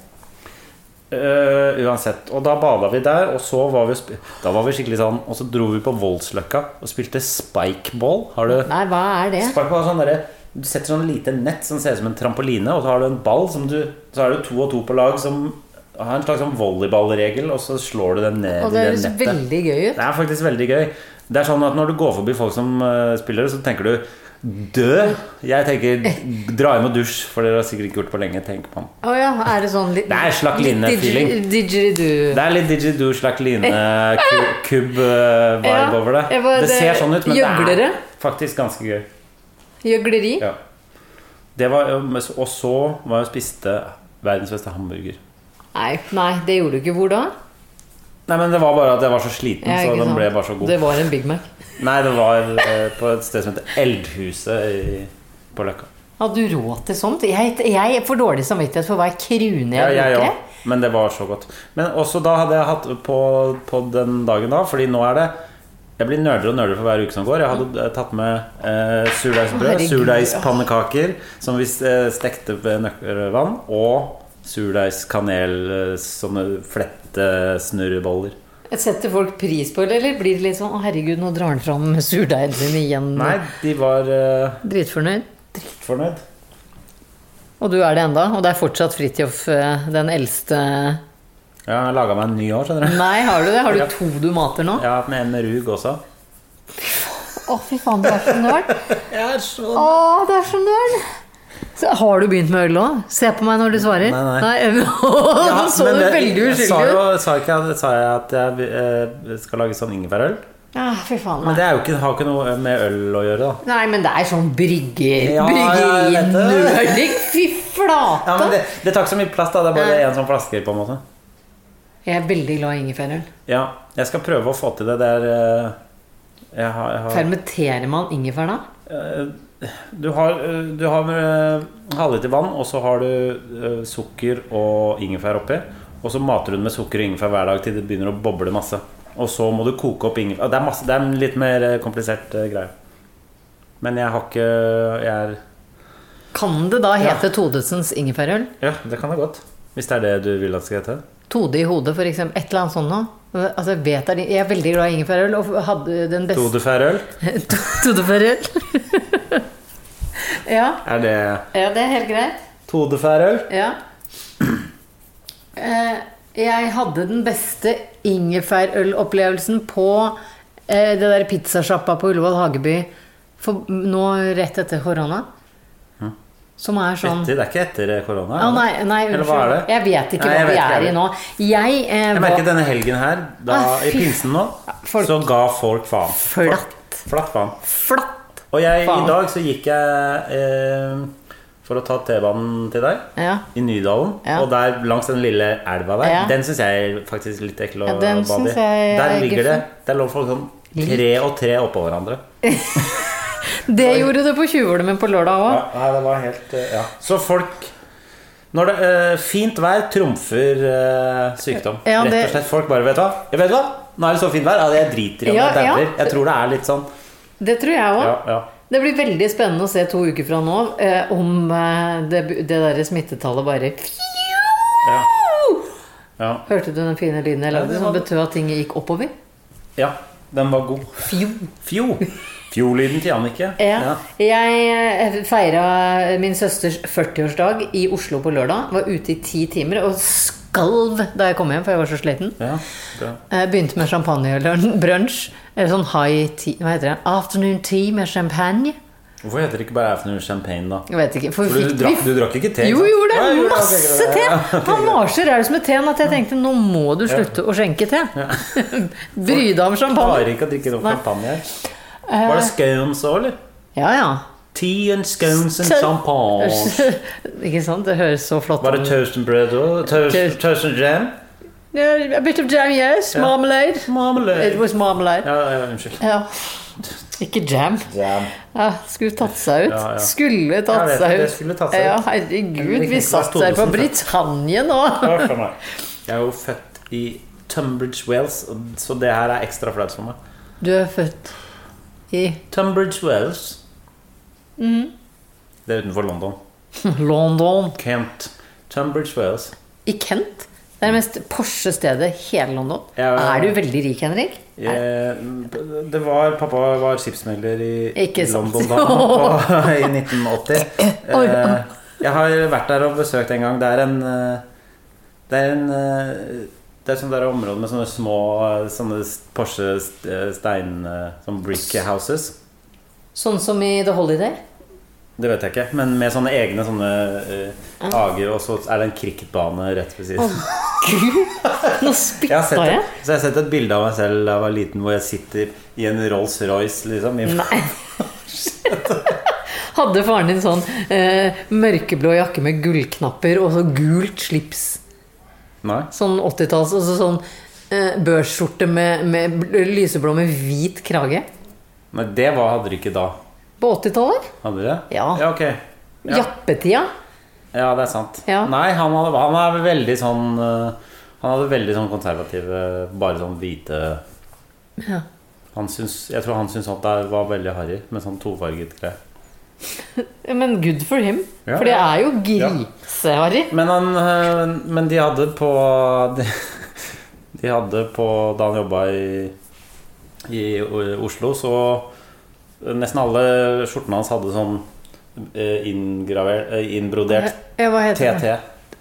A: Eh, uansett. Og da bada vi der, og så var vi, sp- da var vi skikkelig sånn Og så dro vi på Voldsløkka og spilte spikeball. Har du
B: Nei, hva er det?
A: Sparkball er sånn derre Du setter sånn lite nett som ser ut som en trampoline, og så har du en ball som du Så er det to og to på lag som har en slags sånn volleyballregel, og så slår du den ned
B: Og det
A: i det
B: høres
A: nettet.
B: veldig gøy ut.
A: Det er faktisk veldig gøy. Det er sånn at Når du går forbi folk som eh, spiller, så tenker du dø. Jeg tenker d- dra hjem og dusj, for dere har sikkert ikke gjort det på lenge. Tenk på han.
B: Å ja, er det sånn litt
A: Det er slakk
B: litt
A: line-feeling.
B: didgeri- Didgeridoo.
A: Det er litt Digidoo slack line-kubb-vibe
B: Ja,
A: eh, over det.
B: jeg var- eh,
A: det ser sånn ut, men det
B: Gjøglere.
A: er faktisk ganske gøy.
B: Gjøgleri.
A: Ja. Det var, og så var jeg og spiste verdens beste hamburger.
B: Nei, nei, det gjorde du ikke. Hvor da?
A: Nei, men Det var bare at jeg var så sliten,
B: Ja,
A: så
B: ikke
A: den
B: sant.
A: ble bare så god.
B: Det var en Big Mac.
A: Nei, det var eh, på et sted som heter Eldhuset i, på Løkka.
B: Hadde du råd til sånt? Jeg, jeg får dårlig samvittighet for hver krone jeg
A: Ja,
B: bruker.
A: òg. Men det var så godt. Men også da hadde jeg hatt på, på den dagen da, fordi nå er det Jeg blir nerdere og nerdere for hver uke som går. Jeg hadde eh, tatt med eh,
B: Å,
A: surdeigsbrød,
B: herregud.
A: surdeigspannekaker som vi eh, stekte ved nøkkelvann, og surdeiskanel eh, sånne flettesnurreboller.
B: Setter folk pris på det, eller blir det litt sånn 'Å, herregud, nå drar han fram surdeigen sin igjen'?
A: Nei, de var eh,
B: Dritfornøyd.
A: fornøyd.
B: Og du er det enda, og det er fortsatt Fridtjof, eh, den eldste
A: Ja, jeg laga meg en ny år, skjønner du.
B: Nei, har du det? Har
A: Ja.
B: du to du mater nå? Å,
A: Jeg har hatt med en med rug også.
B: fy faen, du er så nerd.
A: Jeg er så
B: Å, du er så nerd. Så har du begynt med øl òg? Se på meg når du svarer.
A: Nei, nei.
B: Nå så
A: men
B: du
A: det-
B: veldig
A: jeg Sa,
B: uskyldig ut.
A: jo, sa, ikke, jeg- sa jeg at jeg eh, skal lage sånn ingefærøl?
B: Ja, Ah, fy faen.
A: Men
B: Nei.
A: det er jo ikke, har ikke noe med øl å gjøre, da.
B: nei, men det er sånn brygger...
A: Ja, ja, jeg vet det.
B: Bryggerinerding. Fy flate!
A: Ja, men det, det tar ikke så mye plass, da. Det er bare én sånn flaske, på en måte.
B: Jeg er veldig glad i ingefærøl.
A: Ja, jeg skal prøve å få til det der eh, jeg har, jeg har,
B: Fermenterer man ingefær da?
A: eh, du har, eh, du har eh, halvliter vann, og så har du eh, sukker og ingefær oppi. Og så mater du den med sukker og ingefær hver dag til det begynner å boble masse. Og så må du koke opp ingefær. Det er, masse, det er en litt mer eh, komplisert eh, greie. Men jeg har ikke Jeg er
B: Kan det da hete Todesens ingefærøl?
A: Ja, det kan det godt. Hvis det er det du vil at det skal hete.
B: Tode i hodet, for eksempel. Et eller annet sånt noe. Altså, jeg, vet, at- jeg er veldig glad i ingefærøl, og hadde den beste
A: Todefærøl?
B: To- Todefærøl. ja,
A: Er det
B: ja, det er helt greit.
A: Todefærøl?
B: Ja. Eh, jeg hadde den beste ingefærølopplevelsen på eh, det der pizzasjappa på Ullevål Hageby for, nå rett etter korona. Som er sånn
A: Etter, det er ikke etter eh, korona?
B: Å, nei, nei,
A: Eller hva er
B: unnskyld.
A: det?
B: Jeg vet ikke
A: Nei, jeg
B: hva vi
A: vet ikke
B: er i nå. Jeg, eh,
A: Jeg merket
B: var
A: denne helgen her, da,
B: Ah,
A: i
B: fy
A: pinsen nå,
B: folk-
A: så ga folk faen.
B: Flatt.
A: Folk- Flatt faen.
B: flatt.
A: Og jeg,
B: Faen.
A: i dag så gikk jeg eh, for å ta T-banen til deg.
B: Ja.
A: I Nydalen.
B: Ja.
A: Og der langs den lille elva der.
B: Ja.
A: Den syns jeg er faktisk litt ekkel å
B: Ja, den
A: bade
B: synes
A: i.
B: jeg
A: Der
B: er
A: ligger det
B: guffen.
A: Der lå folk sånn tre og tre oppå hverandre.
B: Det gjorde det på 20-årene min på lørdag òg.
A: Ja, nei, det var helt eh, Ja. Så folk Når det eh, Fint vær trumfer eh, sykdom.
B: Ja,
A: Rett
B: det-
A: og slett. Folk bare vet du hva. Jeg vet du hva? Nå er det så fint vær. Ja, jeg driter i om
B: Ja,
A: jeg dauer.
B: ja.
A: Jeg tror det er litt sånn.
B: Det tror jeg òg.
A: Ja, ja.
B: Det blir veldig spennende å se to uker fra nå eh, om eh, det, det derre smittetallet bare
A: Ja. Ja.
B: Hørte du den fine lyden jeg lagde
A: det
B: som
A: var-
B: betød at ting gikk oppover?
A: ja. Den var god.
B: Fjo.
A: Fjo. Fjolyden til Jannicke.
B: Ja. Jeg feira min søsters 40-årsdag i Oslo på lørdag. Var ute i ti timer og skalv da jeg kom hjem, for jeg var så sliten.
A: Ja, bra.
B: Jeg begynte med eh, champagnebrunsj. Eller sånn high tea Hva heter det? Afternoon tea med champagne.
A: Hvorfor heter det ikke bare Afternoon Champagne, da?
B: Jeg vet ikke, for
A: For
B: vi
A: du,
B: fikk,
A: drakk,
B: vi
A: du drakk ikke te? ikke
B: Jo,
A: sant?
B: gjorde
A: Ja,
B: det.
A: jeg gjorde det, ok,
B: Masse
A: greit,
B: te!
A: ja.
B: Han var så raus med teen at jeg tenkte nå må du slutte å skjenke te. Bry deg om champagne.
A: Klarer ikke å drikke nok
B: Nei. Eh.
A: champagne her. Var det scones òg, eller?
B: Ja, ja.
A: Tea and scones and
B: Tø-
A: champagne.
B: Ikke sant? Det høres så flott
A: Var det
B: ut.
A: toast and bread òg?
B: Toast.
A: Toast, toast and jam?
B: Yeah, a bit of jam, yes. Marmalade. It
A: Marmelade.
B: was marmalade.
A: Ja, ja, unnskyld.
B: Ja. Ikke jam.
A: Jam.
B: Ja, skulle tatt seg ut.
A: Ja, ja.
B: Skulle
A: Jeg
B: tatt
A: vet
B: seg
A: det,
B: ut.
A: skulle tatt seg ut.
B: Ja, herregud, vi
A: Niklas
B: satt der på
A: Thodesen,
B: Britannia nå.
A: Huff a meg. Jeg er jo født i Tunbridge, Wales, og- så det her er ekstra flaut for meg.
B: Du er født i
A: Tunbridge, Wales.
B: Mm-hmm.
A: Det er utenfor London.
B: London.
A: Kent. Tunbridge, Wales.
B: I Kent? Det er det mest Porsche-stedet i hele London.
A: Ja, ja, ja.
B: Er du veldig rik, Henrik?
A: Eh, Det var, pappa var skipsmegler i,
B: Ikke
A: i
B: sant.
A: London da, på, i 1980.
B: Oi.
A: Eh, Jeg har vært der og besøkt en gang. Det er en eh, Det er en eh, det er sånn der område med sånne små eh, sånne Porsche eh, stein eh, Sånn brick houses.
B: Sånn som i The Holiday?
A: Det vet jeg ikke, men med sånne egne sånne eh, hager, og så er det en cricketbane rett ved siden.
B: Nå
A: Jeg har, sett
B: spytta jeg.
A: et, så jeg har sett et bilde av meg selv da jeg var liten, hvor jeg sitter i en Rolls-Royce, liksom. I,
B: Nei. Hadde faren din sånn eh, mørkeblå jakke med gullknapper og så gult slips?
A: nei.
B: Sånn 80-talls og så sånn eh, børsskjorte med, med bl- lyseblå med hvit krage?
A: Nei, det var, hadde dere ikke da.
B: På 80-tallet?
A: Hadde dere?
B: Ja.
A: ja ok. Ja.
B: Jappetida?
A: Ja, det er sant.
B: Ja.
A: Nei, han, hadde, han er veldig sånn eh, Han hadde veldig sånn konservative, bare sånn hvite
B: Ja.
A: han syns, Jeg tror han syntes sånt der var veldig harry, med sånn tofarget greier.
B: Men good for him.
A: Ja,
B: for det
A: ja.
B: er jo griseharry.
A: Men, han, eh, men de hadde på de, de hadde på Da han jobba i, i Oslo, så eh, Nesten alle skjortene hans hadde sånn eh, inngraver- eh, innbrodert
B: Ja, hva heter det?
A: TT.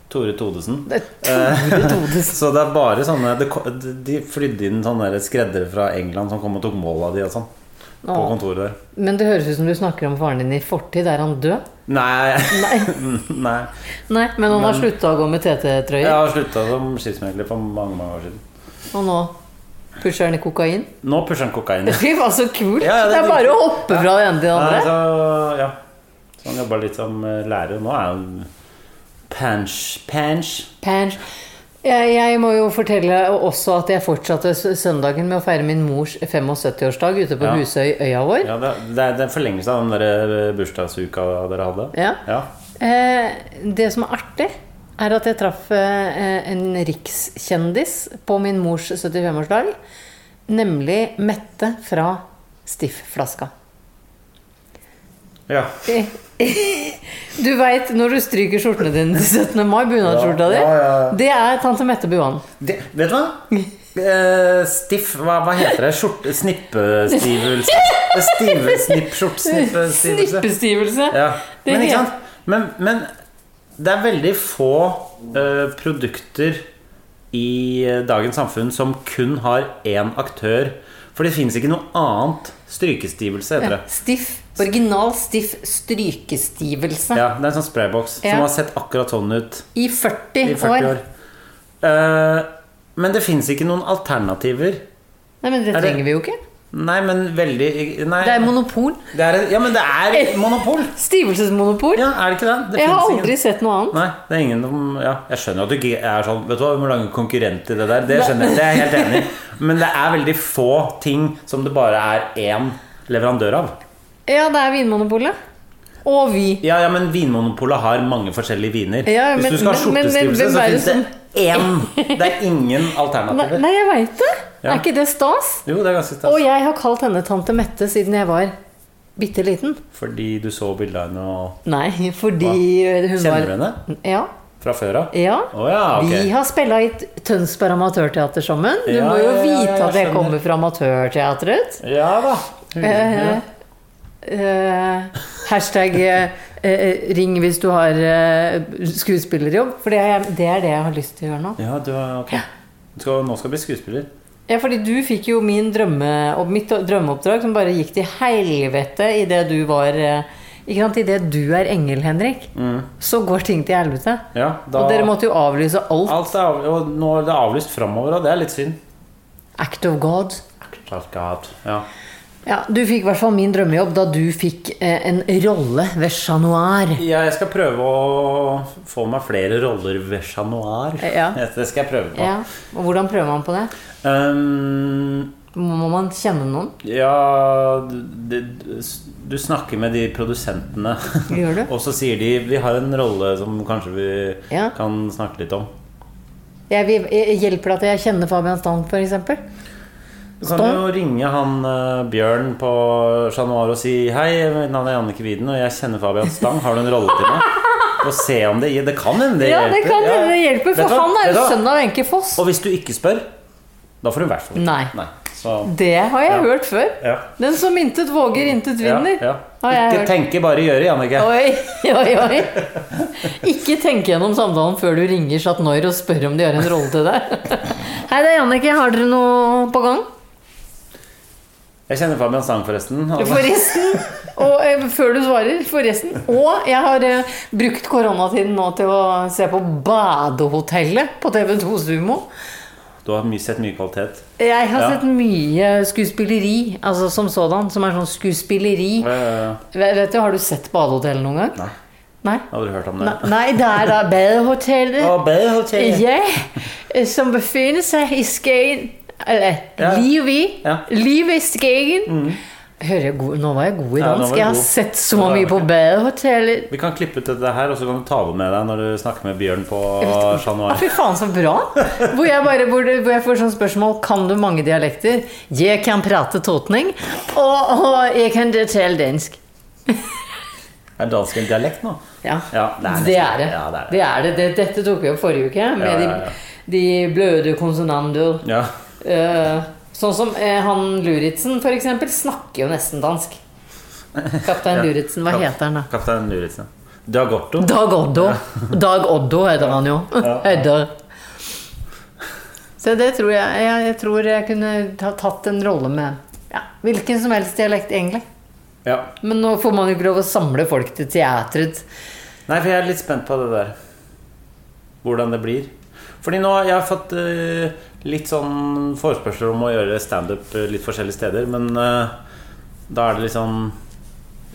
A: Tore Todesen.
B: Det er Tore Todesen.
A: Så det er bare sånne det, ko- De flydde inn sånne der skreddere fra England som kom og tok mål av de og sånn. På
B: Åh.
A: kontoret der.
B: Men det høres ut som du snakker om faren din i fortid. Er han død?
A: Nei.
B: Nei,
A: Nei.
B: Nei men han har slutta å gå med
A: Jeg
B: TT-trøyer.
A: har slutta som skipsmegler for mange mange år siden.
B: Og nå pusher han i kokain.
A: Nå pusher han kokain.
B: Fy faen, så kult!
A: Ja, ja,
B: det,
A: det er
B: er bare
A: dritkult.
B: å hoppe fra det ene til det
A: Nei,
B: andre.
A: så, ja. så han jobba litt som eh, lærer. Nå er han panch. Panch.
B: Pants. Jeg, jeg må jo fortelle også at jeg fortsatte s- søndagen med å feire min mors 75-årsdag ute på
A: Ja.
B: Husøy, øya vår.
A: Ja, det, er- det, er, det er forlengelse av den der eh, bursdagsuka dere hadde.
B: Ja.
A: Ja.
B: Eh, det som er artig, er at jeg traff eh, en rikskjendis på min mors 75-årsdag. Nemlig Mette fra Stiff-flaska.
A: ja.
B: Du veit når du stryker skjortene dine til 17. mai, bunadsskjorta di?
A: Ja, ja, ja.
B: Det er tante Mette Buan.
A: Det, vet du hva? Eh, stiff hva, hva heter det? Skjorte... Snippestivelse? Stivelsnipp-skjortsnippestivelse?
B: Snippestivelse.
A: Ja.
B: Det
A: Men,
B: er-
A: ikke sant? Men, men det er veldig få eh, produkter i eh, dagens samfunn som kun har én aktør. For det fins ikke noe annet. Strykestivelse heter det.
B: Stiff. Original stiff strykestivelse.
A: Ja, Det er en sånn sprayboks
B: Ja.
A: som har sett akkurat sånn ut
B: I 40,
A: i 40
B: år.
A: år. Eh, men det fins ikke noen alternativer.
B: Nei, men det
A: Er det-
B: trenger vi jo ikke.
A: Nei, men veldig Nei.
B: Det er monopol.
A: Det er, ja, men det er monopol!
B: Stivelsesmonopol.
A: Ja, er det ikke det? det
B: Jeg har
A: finnes
B: aldri
A: ingen.
B: sett noe annet.
A: Nei, det er ingen som ja, Jeg skjønner at du ikke er sånn Vet du hva, vi må lage en konkurrent i det der. Det skjønner jeg, det er jeg helt enig i. Men det er veldig få ting som det bare er én leverandør av.
B: Ja, det er Vinmonopolet. Og vi.
A: Ja, ja, men Vinmonopolet har mange forskjellige viner.
B: Ja, men-
A: Hvis du skal ha
B: men- men- men
A: skjortestivelse,
B: hvem
A: så
B: er det
A: fins det én! Det er ingen
B: Nei,
A: alternativer.
B: nei jeg veit det.
A: Ja.
B: Er ikke det stas?
A: Jo, det er ganske
B: Og
A: stas.
B: jeg har kalt henne tante Mette siden jeg var bitte liten.
A: Fordi du så bildet av henne og
B: Nei, fordi hun var
A: Kjenner du henne
B: Ja.
A: fra før av?
B: ja.
A: Å ja, ok.
B: Vi har spilla i Tønsberg Amatørteater sammen. Du
A: Ja,
B: må
A: ja,
B: jo
A: ja, ja,
B: vite
A: jeg
B: at jeg
A: skjønner.
B: kommer fra amatørteatret.
A: Ja da. Hun, ja.
B: Eh, hashtag eh, eh, ring hvis du har eh, skuespillerjobb. For det er, det er det jeg har lyst til å gjøre nå.
A: Ja, du er, ok. Du skal, nå skal du bli skuespiller.
B: Ja, fordi du fikk jo min drømme, og mitt drømmeoppdrag som bare gikk til helvete idet du var eh, Ikke sant, idet du er engel, Henrik, så går ting til helvete.
A: Ja, Mm. da,
B: Og dere måtte jo avlyse alt.
A: Alt er, av, og nå er det avlyst framover, og det er litt synd.
B: Act of God.
A: Takk Gud. Ja.
B: Ja, Du fikk i hvert fall min drømmejobb da du fikk eh, en rolle ved Chat Noir.
A: Ja, jeg skal prøve å få meg flere roller ved Chat Noir.
B: Ja.
A: Det skal jeg prøve på.
B: Ja. Og hvordan prøver man på det?
A: Um,
B: Må må man kjenne noen?
A: ja det, Du snakker med de produsentene.
B: Gjør du?
A: Og så sier de 'vi har en rolle som kanskje vi
B: Ja.
A: kan snakke litt om'.
B: Jeg vil, jeg- hjelper det at jeg kjenner Fabian Stang, f.eks.?
A: Du kan jo ringe han eh, Bjørn på Chat Noir og si 'hei, mitt navn er Jannicke Widen, og jeg kjenner Fabian Stang, har du en rolle til meg?' Og se om det Det kan hende det
B: Ja, det
A: hjelper.
B: kan
A: Ja.
B: hende det hjelper,
A: Vet
B: for
A: du hva?
B: han er
A: Vet du
B: jo
A: hva?
B: sønn av Wenche Foss.
A: Og hvis du ikke spør, da får du i hvert fall ikke.
B: Nei.
A: Så,
B: Det har jeg
A: Ja.
B: hørt før.
A: ja.
B: Den som intet våger, intet
A: Ja,
B: vinner.
A: ja.
B: Har jeg
A: Ikke
B: hørt.
A: tenke, bare gjøre, Jannicke.
B: Oi, oi, oi. Ikke tenk gjennom samtalen før du ringer Chat Noir og spør om de har en rolle til deg. Hei, det er Jannicke. Har dere noe på gang?
A: Jeg kjenner Fabian Stang, forresten. Han-
B: Forresten. Og eh, før du svarer, forresten. Og jeg har eh, brukt koronatiden nå til å se på Badehotellet på TV2 Sumo.
A: Du har mye, sett mye kvalitet.
B: Jeg har
A: Ja.
B: sett mye skuespilleri, altså som sådan, som er sånn skuespilleri.
A: Ja, ja, ja.
B: Vet vet du, Har du sett Badehotellet noen gang?
A: Nei.
B: Nei?
A: Jeg har aldri hørt om det.
B: Nei, nei det er da Badehotellet Øh,
A: Å, badehotellet.
B: ja, øh, som befinner seg i Skien Eller
A: Ja.
B: livet i.
A: Ja. Mhm.
B: Livet i Skien. Hører jeg god, nå var jeg god i
A: Ja, nå var
B: dansk.
A: du
B: jeg har
A: god.
B: sett
A: Ja,
B: så
A: det er
B: mye på
A: ok.
B: Badehotellet.
A: Vi kan klippe ut dette her, og så kan du ta det med deg når du snakker med Bjørn på Chat
B: Ah,
A: Noir.
B: Fy faen, så bra! Hvor jeg, bare, hvor, det- hvor jeg får sånn spørsmål Kan du mange dialekter. Jeg kan prate totning. Og, og jeg kan fortelle dansk.
A: Er dansk en dialekt nå?
B: Ja,
A: Ja, det er nesten-
B: det er det.
A: ja, det er det.
B: det, er det. det. Dette tok vi opp forrige uke, med
A: Ja, ja, ja.
B: De, de bløde konsonanter.
A: Ja.
B: Eh, sånn som eh, han Luritzen, for eksempel, snakker jo nesten dansk. Kaptein Luritzen, hva
A: Kap-
B: heter han da?
A: Kaptein Luritzen. Diagorto.
B: Dag Oddo. Dag Oddo heter han jo. Hedder. Så det tror jeg Jeg, jeg tror jeg kunne ha tatt en rolle med ja, hvilken som helst dialekt, egentlig.
A: Ja.
B: Men nå får man jo ikke lov å samle folk til teatret.
A: Nei, for jeg er litt spent på det der. Hvordan det blir. Fordi nå jeg har fått eh, litt sånn forespørsler om å gjøre standup eh, litt forskjellige steder, men eh, da er det litt sånn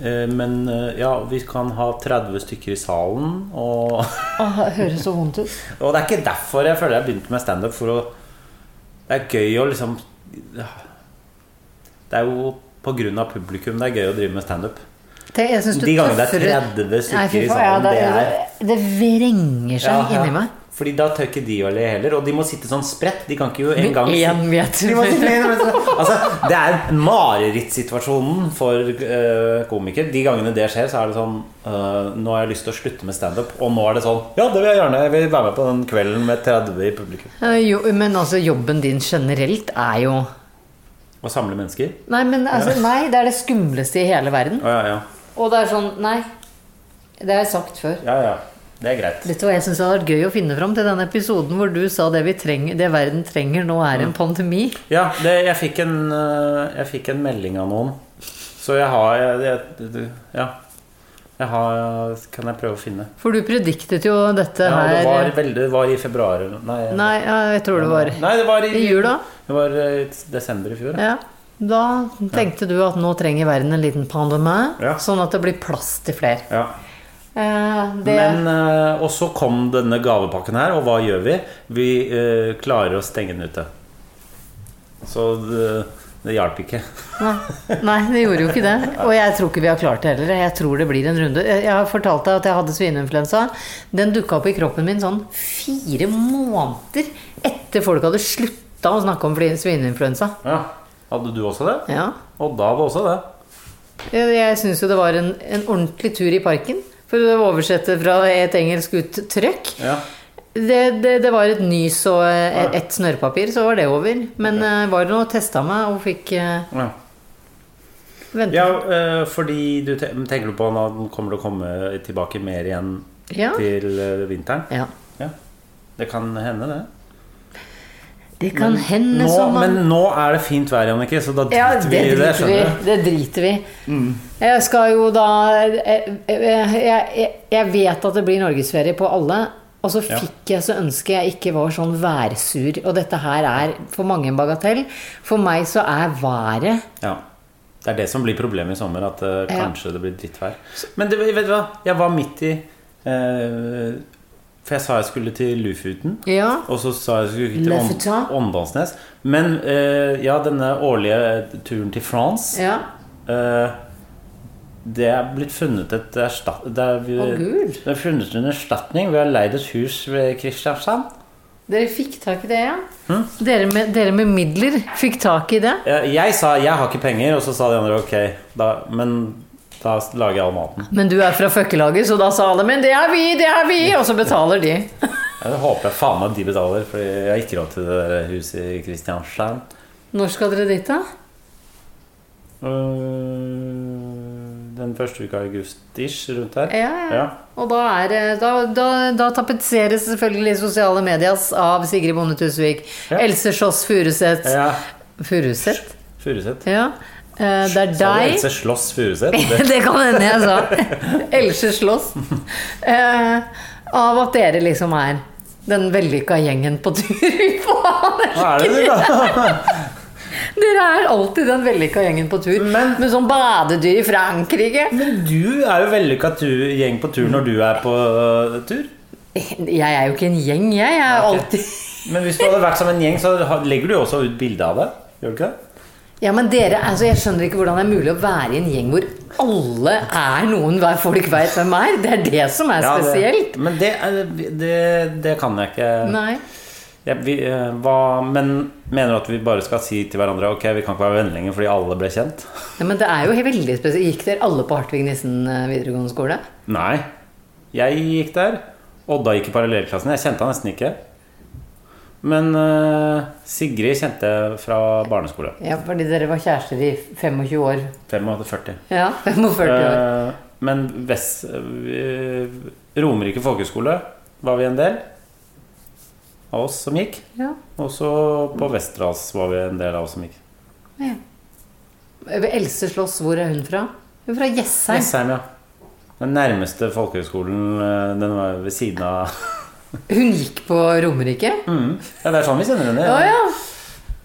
A: eh, Men eh, ja, vi kan ha 30 stykker i salen, og
B: Åh, det høres så vondt ut.
A: Og det er ikke derfor jeg føler jeg begynte med standup, for å Det er gøy å liksom Det er jo på grunn av publikum det er gøy å drive med standup.
B: Tenk, jeg synes du
A: De gangene det er
B: tøffer-
A: 30 stykker
B: Nei, fy
A: i
B: faen,
A: salen,
B: ja,
A: det
B: det, det vrenger seg
A: Ja, ja.
B: inni meg.
A: Fordi da tør ikke de å le heller. Og de må sitte sånn spredt. De kan ikke jo engang
B: Én
A: De må sitte
B: meter.
A: en meter. Altså, det er marerittsituasjonen for eh, komikere. De gangene det skjer, så er det sånn eh, Nå har jeg lyst til å slutte med standup, og nå er det sånn Ja, det vil jeg gjerne. Jeg vil være med på den kvelden med 30 i publikum.
B: Eh, Jo, men altså, jobben din generelt er jo
A: Og samle mennesker.
B: Nei, men altså, nei, det er det skumleste i hele verden.
A: Å ja, ja.
B: Og det er sånn Nei, det har jeg sagt før.
A: Ja, ja. Det er greit.
B: Vet du hva jeg syns hadde vært gøy å finne fram til denne episoden hvor du sa det, vi trenger, det verden trenger nå, er
A: Mm.
B: en pandemi?
A: Ja, det, jeg, fikk en, eh, jeg fikk en melding av noen. Så jeg har jeg, jeg, du- Ja. Jeg har Kan jeg prøve å finne?
B: For du prediktet jo dette
A: Ja, det
B: her
A: var, veldig, det var i februar eller Nei,
B: Nei, ja, jeg tror det var
A: Nei, det var i,
B: i jula.
A: Det var eh, i desember i fjor. Ja.
B: Ja. Da tenkte du at nå trenger verden en liten pandemi,
A: Ja.
B: sånn at det blir plass til flere.
A: Ja.
B: Eh, det
A: Men, eh, og så kom denne gavepakken her, og hva gjør vi? Vi eh, klarer å stenge den ute. Så det, det hjalp ikke.
B: Nei, Nei, det gjorde jo ikke det. Og jeg tror ikke vi har klart det heller. Jeg tror det blir en runde. Jeg jeg har fortalt deg at jeg hadde svineinfluensa. Den dukka opp i kroppen min sånn fire måneder etter folk hadde slutta å snakke om fli- svineinfluensa.
A: Ja. Hadde du også det?
B: Ja.
A: Og da hadde også det.
B: Jeg, jeg syns jo det var en, en ordentlig tur i parken. For å oversette fra et engelsk ut trøkk.
A: Ja.
B: Det, det, det var et nys og eh, et snørrpapir, så var det over. Men eh, var det noe testa meg og fikk eh,
A: ja.
B: vente.
A: Ja, eh, fordi du te- tenker du på nå den kommer til å komme tilbake mer igjen
B: Ja.
A: til eh, vinteren?
B: ja.
A: Ja. Det kan hende, det.
B: Det kan hende
A: Nå,
B: som man
A: men nå er det fint vær, Jannicke, så da
B: Ja,
A: driter
B: det
A: vi i det.
B: driter vi.
A: skjønner du? Mm.
B: Det driter vi. Jeg skal jo da jeg, jeg, jeg- jeg vet at det blir norgesferie på alle. Og så
A: Ja.
B: fikk jeg så ønske jeg ikke var sånn værsur. Og dette her er for mange en bagatell. For meg så er været
A: Ja. Det er det som blir problemet i sommer, at eh,
B: Ja.
A: kanskje det blir drittvær. Men det, vet du hva, jeg var midt i eh, For jeg sa jeg skulle til Lufuten.
B: Ja.
A: Og så sa jeg skulle ikke til
B: Løfta.
A: Ånd- Åndalsnes. Men eh, ja, denne årlige eh, turen til France
B: ja.
A: eh, Det er blitt funnet et erstat... Det er,
B: Å, Gud.
A: det er funnet en erstatning. Vi har leid et hus ved Kristiansand.
B: Dere fikk tak i det, ja? Dere, med, dere med midler fikk tak i det?
A: Jeg, jeg sa 'jeg har ikke penger', og så sa de andre 'ok, da, men da lager jeg all maten'.
B: Men du er fra føkkelaget, så da sa alle 'men det er vi, det er vi', og så betaler de.
A: Jeg håper jeg faen meg de betaler, Fordi jeg har ikke råd til det der huset i Kristiansand.
B: Når skal dere dit, da?
A: Øh, Den første uka i august-ish, rundt der.
B: Ja, ja.
A: Ja.
B: Og da, er, det- da, da, da tapetseres selvfølgelig sosiale medias av Sigrid Bonde Tusvik.
A: Ja.
B: Else Sjåss Furuseth.
A: ja.
B: Furuseth?
A: Furuset.
B: Ja. Eh, det er
A: Sa du
B: deg.
A: Else Slåss Furuset? Det-
B: det kan hende jeg sa. Else Slåss. Eh, av at dere liksom er den vellykka gjengen på tur. Fy faen,
A: Hva er det du, da?
B: Dere er alltid den vellykka gjengen på tur.
A: Men-
B: med sånn badedyr i Frankrike.
A: Men du er jo vellykka tu- gjeng på tur når du er på øh, tur.
B: Jeg er jo ikke en gjeng, jeg. Jeg er alltid
A: Men hvis du hadde vært som en gjeng, så ha- legger du jo også ut bilde av det. Gjør du ikke det?
B: Ja, men dere, altså Jeg skjønner ikke hvordan det er mulig å være i en gjeng hvor alle er noen hver folk veit hvem er. Det er det som er
A: Ja, det-
B: spesielt.
A: Men det, er- det, det kan jeg ikke.
B: Nei.
A: Ja, vi, eh, hva, men mener du at vi bare skal si til hverandre Ok, vi kan ikke være venner lenger fordi alle ble kjent?
B: Nei, men det er jo veldig spesielt. Gikk dere alle på Hartvig Nissen eh, videregående skole?
A: Nei. Jeg gikk der. Odda gikk i parallellklassen. Jeg kjente han nesten ikke. Men eh, Sigrid kjente jeg fra barneskole.
B: Ja, fordi dere var kjærester i 25 år.
A: 45.
B: Ja, 45 år.
A: Eh, men Vest... eh, Romerike folkehøgskole var vi en del av oss som gikk.
B: Ja.
A: Og så på Vesterålen var vi en del av oss som gikk.
B: ja. Else Slåss, hvor er hun fra? Hun er fra Jessheim.
A: Jessheim, ja. Den nærmeste folkehøgskolen, eh, den var ved siden av
B: Hun gikk på Romerike? Å
A: mm. Ja, det er sånn vi kjenner henne.
B: ja.
A: ja.
B: ja.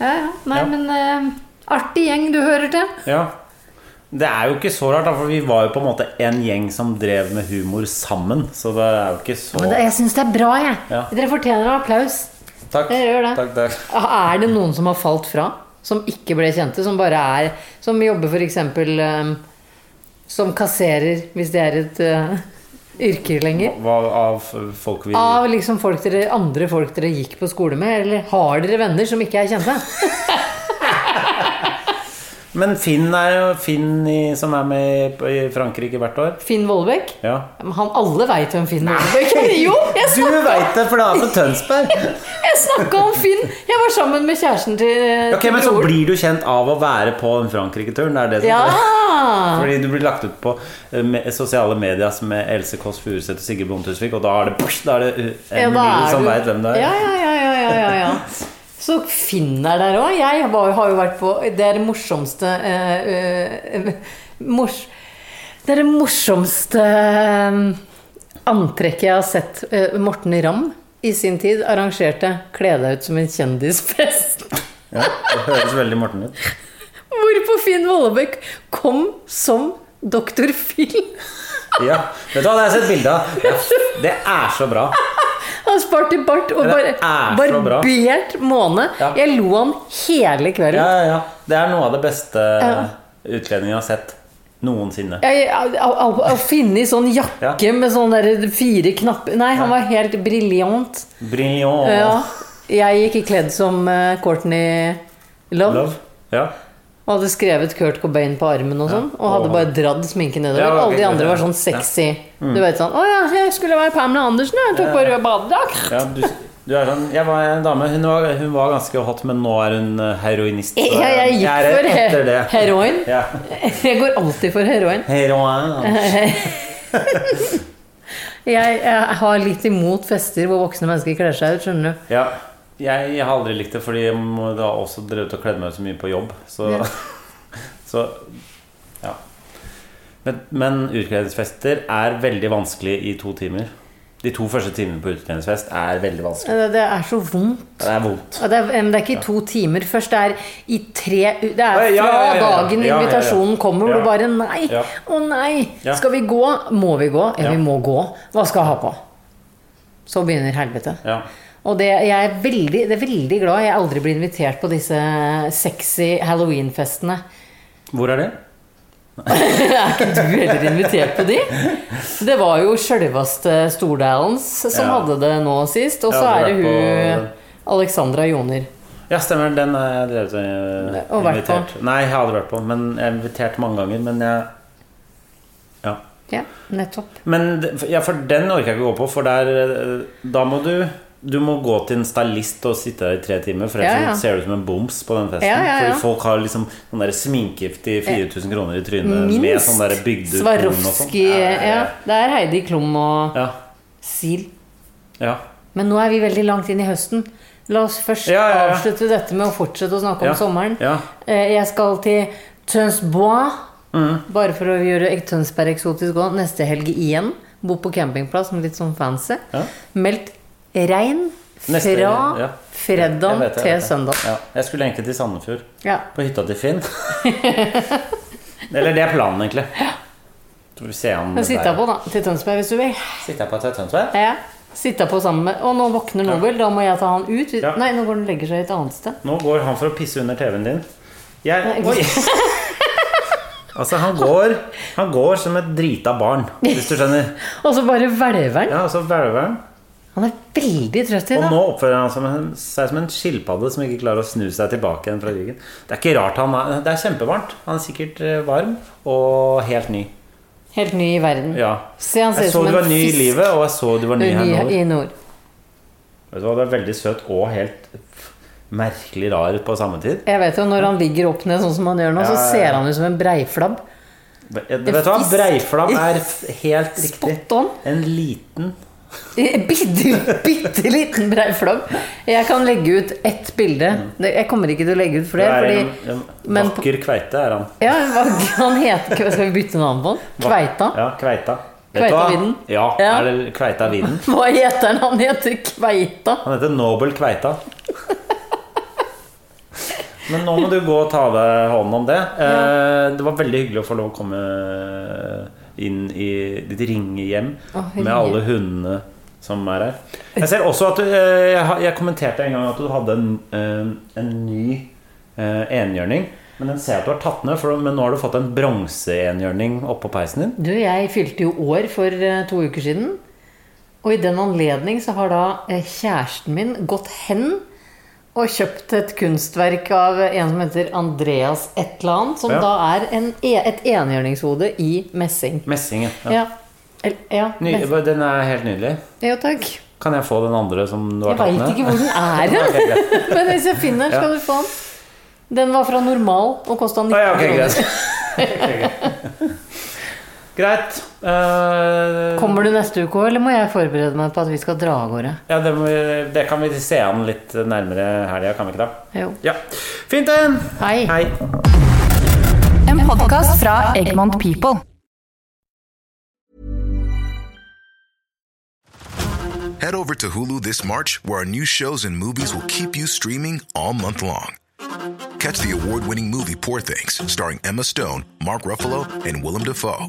B: Ja Nei,
A: Ja.
B: men eh, artig gjeng du hører til.
A: Ja. Det er jo ikke så rart, da, for vi var jo på en måte en gjeng som drev med humor sammen. Så det er jo ikke så
B: Men det, jeg syns det er bra, jeg.
A: Ja.
B: Dere fortjener applaus.
A: Takk.
B: Jeg gjør det.
A: Takk, takk.
B: Er det noen som har falt fra? Som ikke ble kjente? Som bare er Som jobber f.eks. Um, som kasserer, hvis det er et eh, yrke lenger?
A: Hva av folk vi
B: Av liksom folk dere, andre folk dere gikk på skole med? Eller har dere venner som ikke er kjente?
A: Men Finn er jo Finn i, som er med i i Frankrike hvert år.
B: Finn Vollbekk?
A: Ja.
B: Men Han alle veit hvem Finn Vollbekk er. Jo, jeg
A: Du
B: snakka,
A: veit det, for det er på Tønsberg!
B: jeg snakka om Finn! Jeg var sammen med kjæresten til,
A: Ok,
B: til
A: Men så blir du kjent av å være på den Frankrike-turen. Det er det som
B: Ja!
A: Fordi du blir lagt ut på eh, me- sosiale medier som med Else Kåss Furuseth og Sigurd Bonde Tusvik, og da er det, psh, da er det uh, en
B: Ja, da
A: million
B: er
A: som
B: du-
A: veit hvem det er.
B: Ja, ja, ja, ja, ja, ja, ja. Så Finn er der òg. Jeg var, har jo vært på Det er det morsomste eh, eh, mors, Det er det morsomste eh, antrekket jeg har sett eh, Morten Ramm i sin tid arrangerte. Kle deg ut som en kjendisfest.
A: Ja, det høres veldig Morten ut.
B: Hvorpå Finn Vollebekk kom som Dr. Phil.
A: Ja, Vet du hva, det har jeg sett bilde av. Ja, Det er så bra.
B: Han sparte bart og
A: Det
B: bare,
A: er så bra.
B: barbert måne.
A: Ja.
B: Jeg lo han hele kvelden.
A: Ja, ja, ja. Det er noe av det beste
B: Ja.
A: utlendingen har sett noensinne.
B: Jeg, jeg, å, å, å finne i sånn jakke
A: Ja.
B: med sånne der fire knapper Nei, han var helt briljant.
A: Brilliant.
B: Ja. Jeg gikk i kledd som eh, Courtney Love,
A: Love. Ja.
B: og hadde skrevet Kurt Cobain på armen og sånn. Og hadde
A: Åh.
B: bare dradd sminken nedover.
A: Ja, ok,
B: Alle de andre var sånn
A: ja.
B: sexy. Du vet sånn Å ja, jeg skulle være Pamela Andersen, jeg. Tok på rød badedrakt.
A: ja du, du er sånn Jeg var en dame. Hun var, hun var ganske hot, men nå er hun eh, heroinist. så
B: Ja, jeg gikk
A: er
B: for he-
A: etter det.
B: heroin.
A: Ja.
B: Jeg går alltid for heroin.
A: Heroin.
B: Jeg, jeg har litt imot fester hvor voksne mennesker kler seg ut, skjønner du.
A: Ja. Jeg, jeg har aldri likt det, fordi jeg må- det har også drevet og kledd meg ut så mye på jobb. Så
B: Ja.
A: ja. Så, ja. Men, men utkledningsfester er veldig vanskelig i to timer. De to første timene på utkledningsfest er veldig vanskelig.
B: Det, det er så vondt.
A: Det er vondt.
B: Ja, det, er, men det er ikke i to timer først. Det er i tre u- Det er
A: Oi,
B: fra
A: ja, ja, ja, ja.
B: dagen
A: Ja, ja, ja.
B: invitasjonen kommer, hvor
A: Ja.
B: du bare Nei!
A: Ja.
B: Å nei!
A: Ja.
B: Skal vi gå? Må vi gå? Ja,
A: Ja.
B: vi må gå. Hva skal jeg ha på? Så begynner helvete.
A: Ja.
B: Og det, jeg er veldig, det er veldig glad jeg aldri blir invitert på disse sexy halloweenfestene.
A: Hvor er det?
B: Er ikke du heller invitert på de? Det var jo sjølveste Stordalens som
A: Ja.
B: hadde det nå sist. Og
A: Ja,
B: så
A: det
B: er
A: er
B: det hun
A: på-
B: Alexandra Joner.
A: Ja, stemmer. Den har jeg drevet og
B: Og vært på.
A: invitert. Nei, jeg har aldri vært på, men jeg har invitert mange ganger. Men jeg Ja.
B: Ja, nettopp.
A: Men det- ja, for den orker jeg ikke gå på, for der eh, Da må du du må gå til en stylist og sitte der i tre timer, for ellers
B: Ja, ja.
A: så ser du ut som en boms på den festen.
B: Ja, ja, ja.
A: Fordi folk har liksom sånn der sminke til 4000 kroner i trynet med sånn der bygd
B: Minst
A: ut horn og sånn.
B: Swarovski ja, Det er Heidi Klum og
A: Ja,
B: Sil.
A: ja.
B: Men nå er vi veldig langt inn i høsten. La oss først
A: Ja, ja, ja.
B: avslutte dette med å fortsette å snakke om
A: Ja,
B: sommeren.
A: ja.
B: Eh, Jeg skal til Tønsbois,
A: Mm.
B: bare for å gjøre ek- Tønsberg eksotisk òg, neste helg igjen. Bo på campingplass med litt sånn fancy.
A: Ja.
B: Meldt regn
A: Neste-
B: fra
A: ja. Jeg
B: fredag
A: vet det, jeg
B: til
A: vet det.
B: søndag.
A: Ja. Jeg skulle egentlig til Sandefjord.
B: Ja.
A: På hytta til Finn. Eller det er planen, egentlig. Så får vi se om det
B: Sitte
A: der-
B: på, da, til Tønsberg hvis du vil.
A: Sitter jeg på et tønsberg?
B: Ja, Sitte på sammen med Og nå våkner Nobel, da må jeg ta han ut.
A: Ja.
B: Nei, nå går han og legger seg et annet sted.
A: Nå går han for å pisse under TV-en din. Jeg
B: Nei.
A: Oi! Altså, han går, han går som et drita barn, hvis du skjønner.
B: Og så bare hvelver han.
A: Ja, altså hvelver han.
B: Han er veldig trøtt i
A: Og
B: dag.
A: nå oppfører han som en, seg som en skilpadde som ikke klarer å snu seg tilbake igjen fra ryggen. Det er ikke rart han er Det er kjempevarmt. Han er sikkert eh, varm og helt ny.
B: Helt ny i verden.
A: Ja.
B: Se, han ser
A: Jeg
B: ut
A: så
B: som
A: du
B: en
A: var ny i
B: fisk.
A: livet, og jeg så du var ny
B: Ny
A: her nå.
B: i nord.
A: Vet du hva, Du er veldig søt og helt f- merkelig rar på samme tid.
B: Jeg vet jo, når han ligger opp ned sånn som han gjør nå,
A: Ja,
B: så
A: ja,
B: ser
A: ja.
B: han ut som en breiflabb.
A: Vet du hva,
B: Fisk.
A: Breiflabb er f- helt riktig.
B: Spot on.
A: En liten
B: Bitte, bitte liten breiflabb. Jeg kan legge ut ett bilde. Det- Jeg kommer ikke til å legge
A: Mm.
B: ut
A: Det
B: flere,
A: er
B: fordi
A: en, en
B: men på-
A: vakker kveite er han.
B: ja, hva- han heter Skal vi bytte navn på han? Kveita?
A: Ja, kveita.
B: Kveita
A: du hva?
B: Viden?
A: Ja,
B: Ja.
A: er det Kveita Viden?
B: Hva heter han? Han heter Kveita.
A: Han heter Nobel Kveita. Men nå må du gå og ta av deg hånden om det. Eh, det var veldig hyggelig å få lov å komme inn i ditt ringehjem
B: Å,
A: med
B: ringe.
A: alle hundene som er her. Jeg ser også at du eh, jeg, har- jeg kommenterte en gang at du hadde en, eh, en ny eh, enhjørning. Men den ser jeg at du har tatt ned, for, men nå har du fått en bronseenhjørning oppå peisen din.
B: Du, jeg fylte jo år for eh, to uker siden. Og i den anledning så har da eh, kjæresten min gått hen og kjøpt et kunstverk av en som heter Andreas et eller annet, som
A: Ja.
B: da er en, e- et enhjørningshode i messing.
A: Messing, ja.
B: Ja. El- ja,
A: Ny,
B: mess-
A: den er helt nydelig.
B: ja takk.
A: Kan jeg få den andre som du har
B: Jeg
A: tatt
B: veit
A: ned?
B: ikke hvor den er
A: Ok,
B: hen,
A: greit.
B: men hvis jeg finner den, skal du få den. Den var fra normal og kosta 19
A: Å, ja, ok,
B: kroner.
A: greit. greit. Eh,
B: Kommer du neste uke òg, eller må jeg forberede meg på at vi skal dra av gårde?
A: ja, det, må vi- det kan vi se an litt nærmere helga, kan vi ikke da?
B: Jo.
A: Ja. Fint, den!
B: Hei.
A: Hei.
C: En podkast fra Egmont People.
D: Head over to Hulu this March, where our new shows and movies will keep you streaming all month long. Catch the award winning movie Poor Things, starring Emma Stone, Mark Ruffalo, and Willem Dafoe.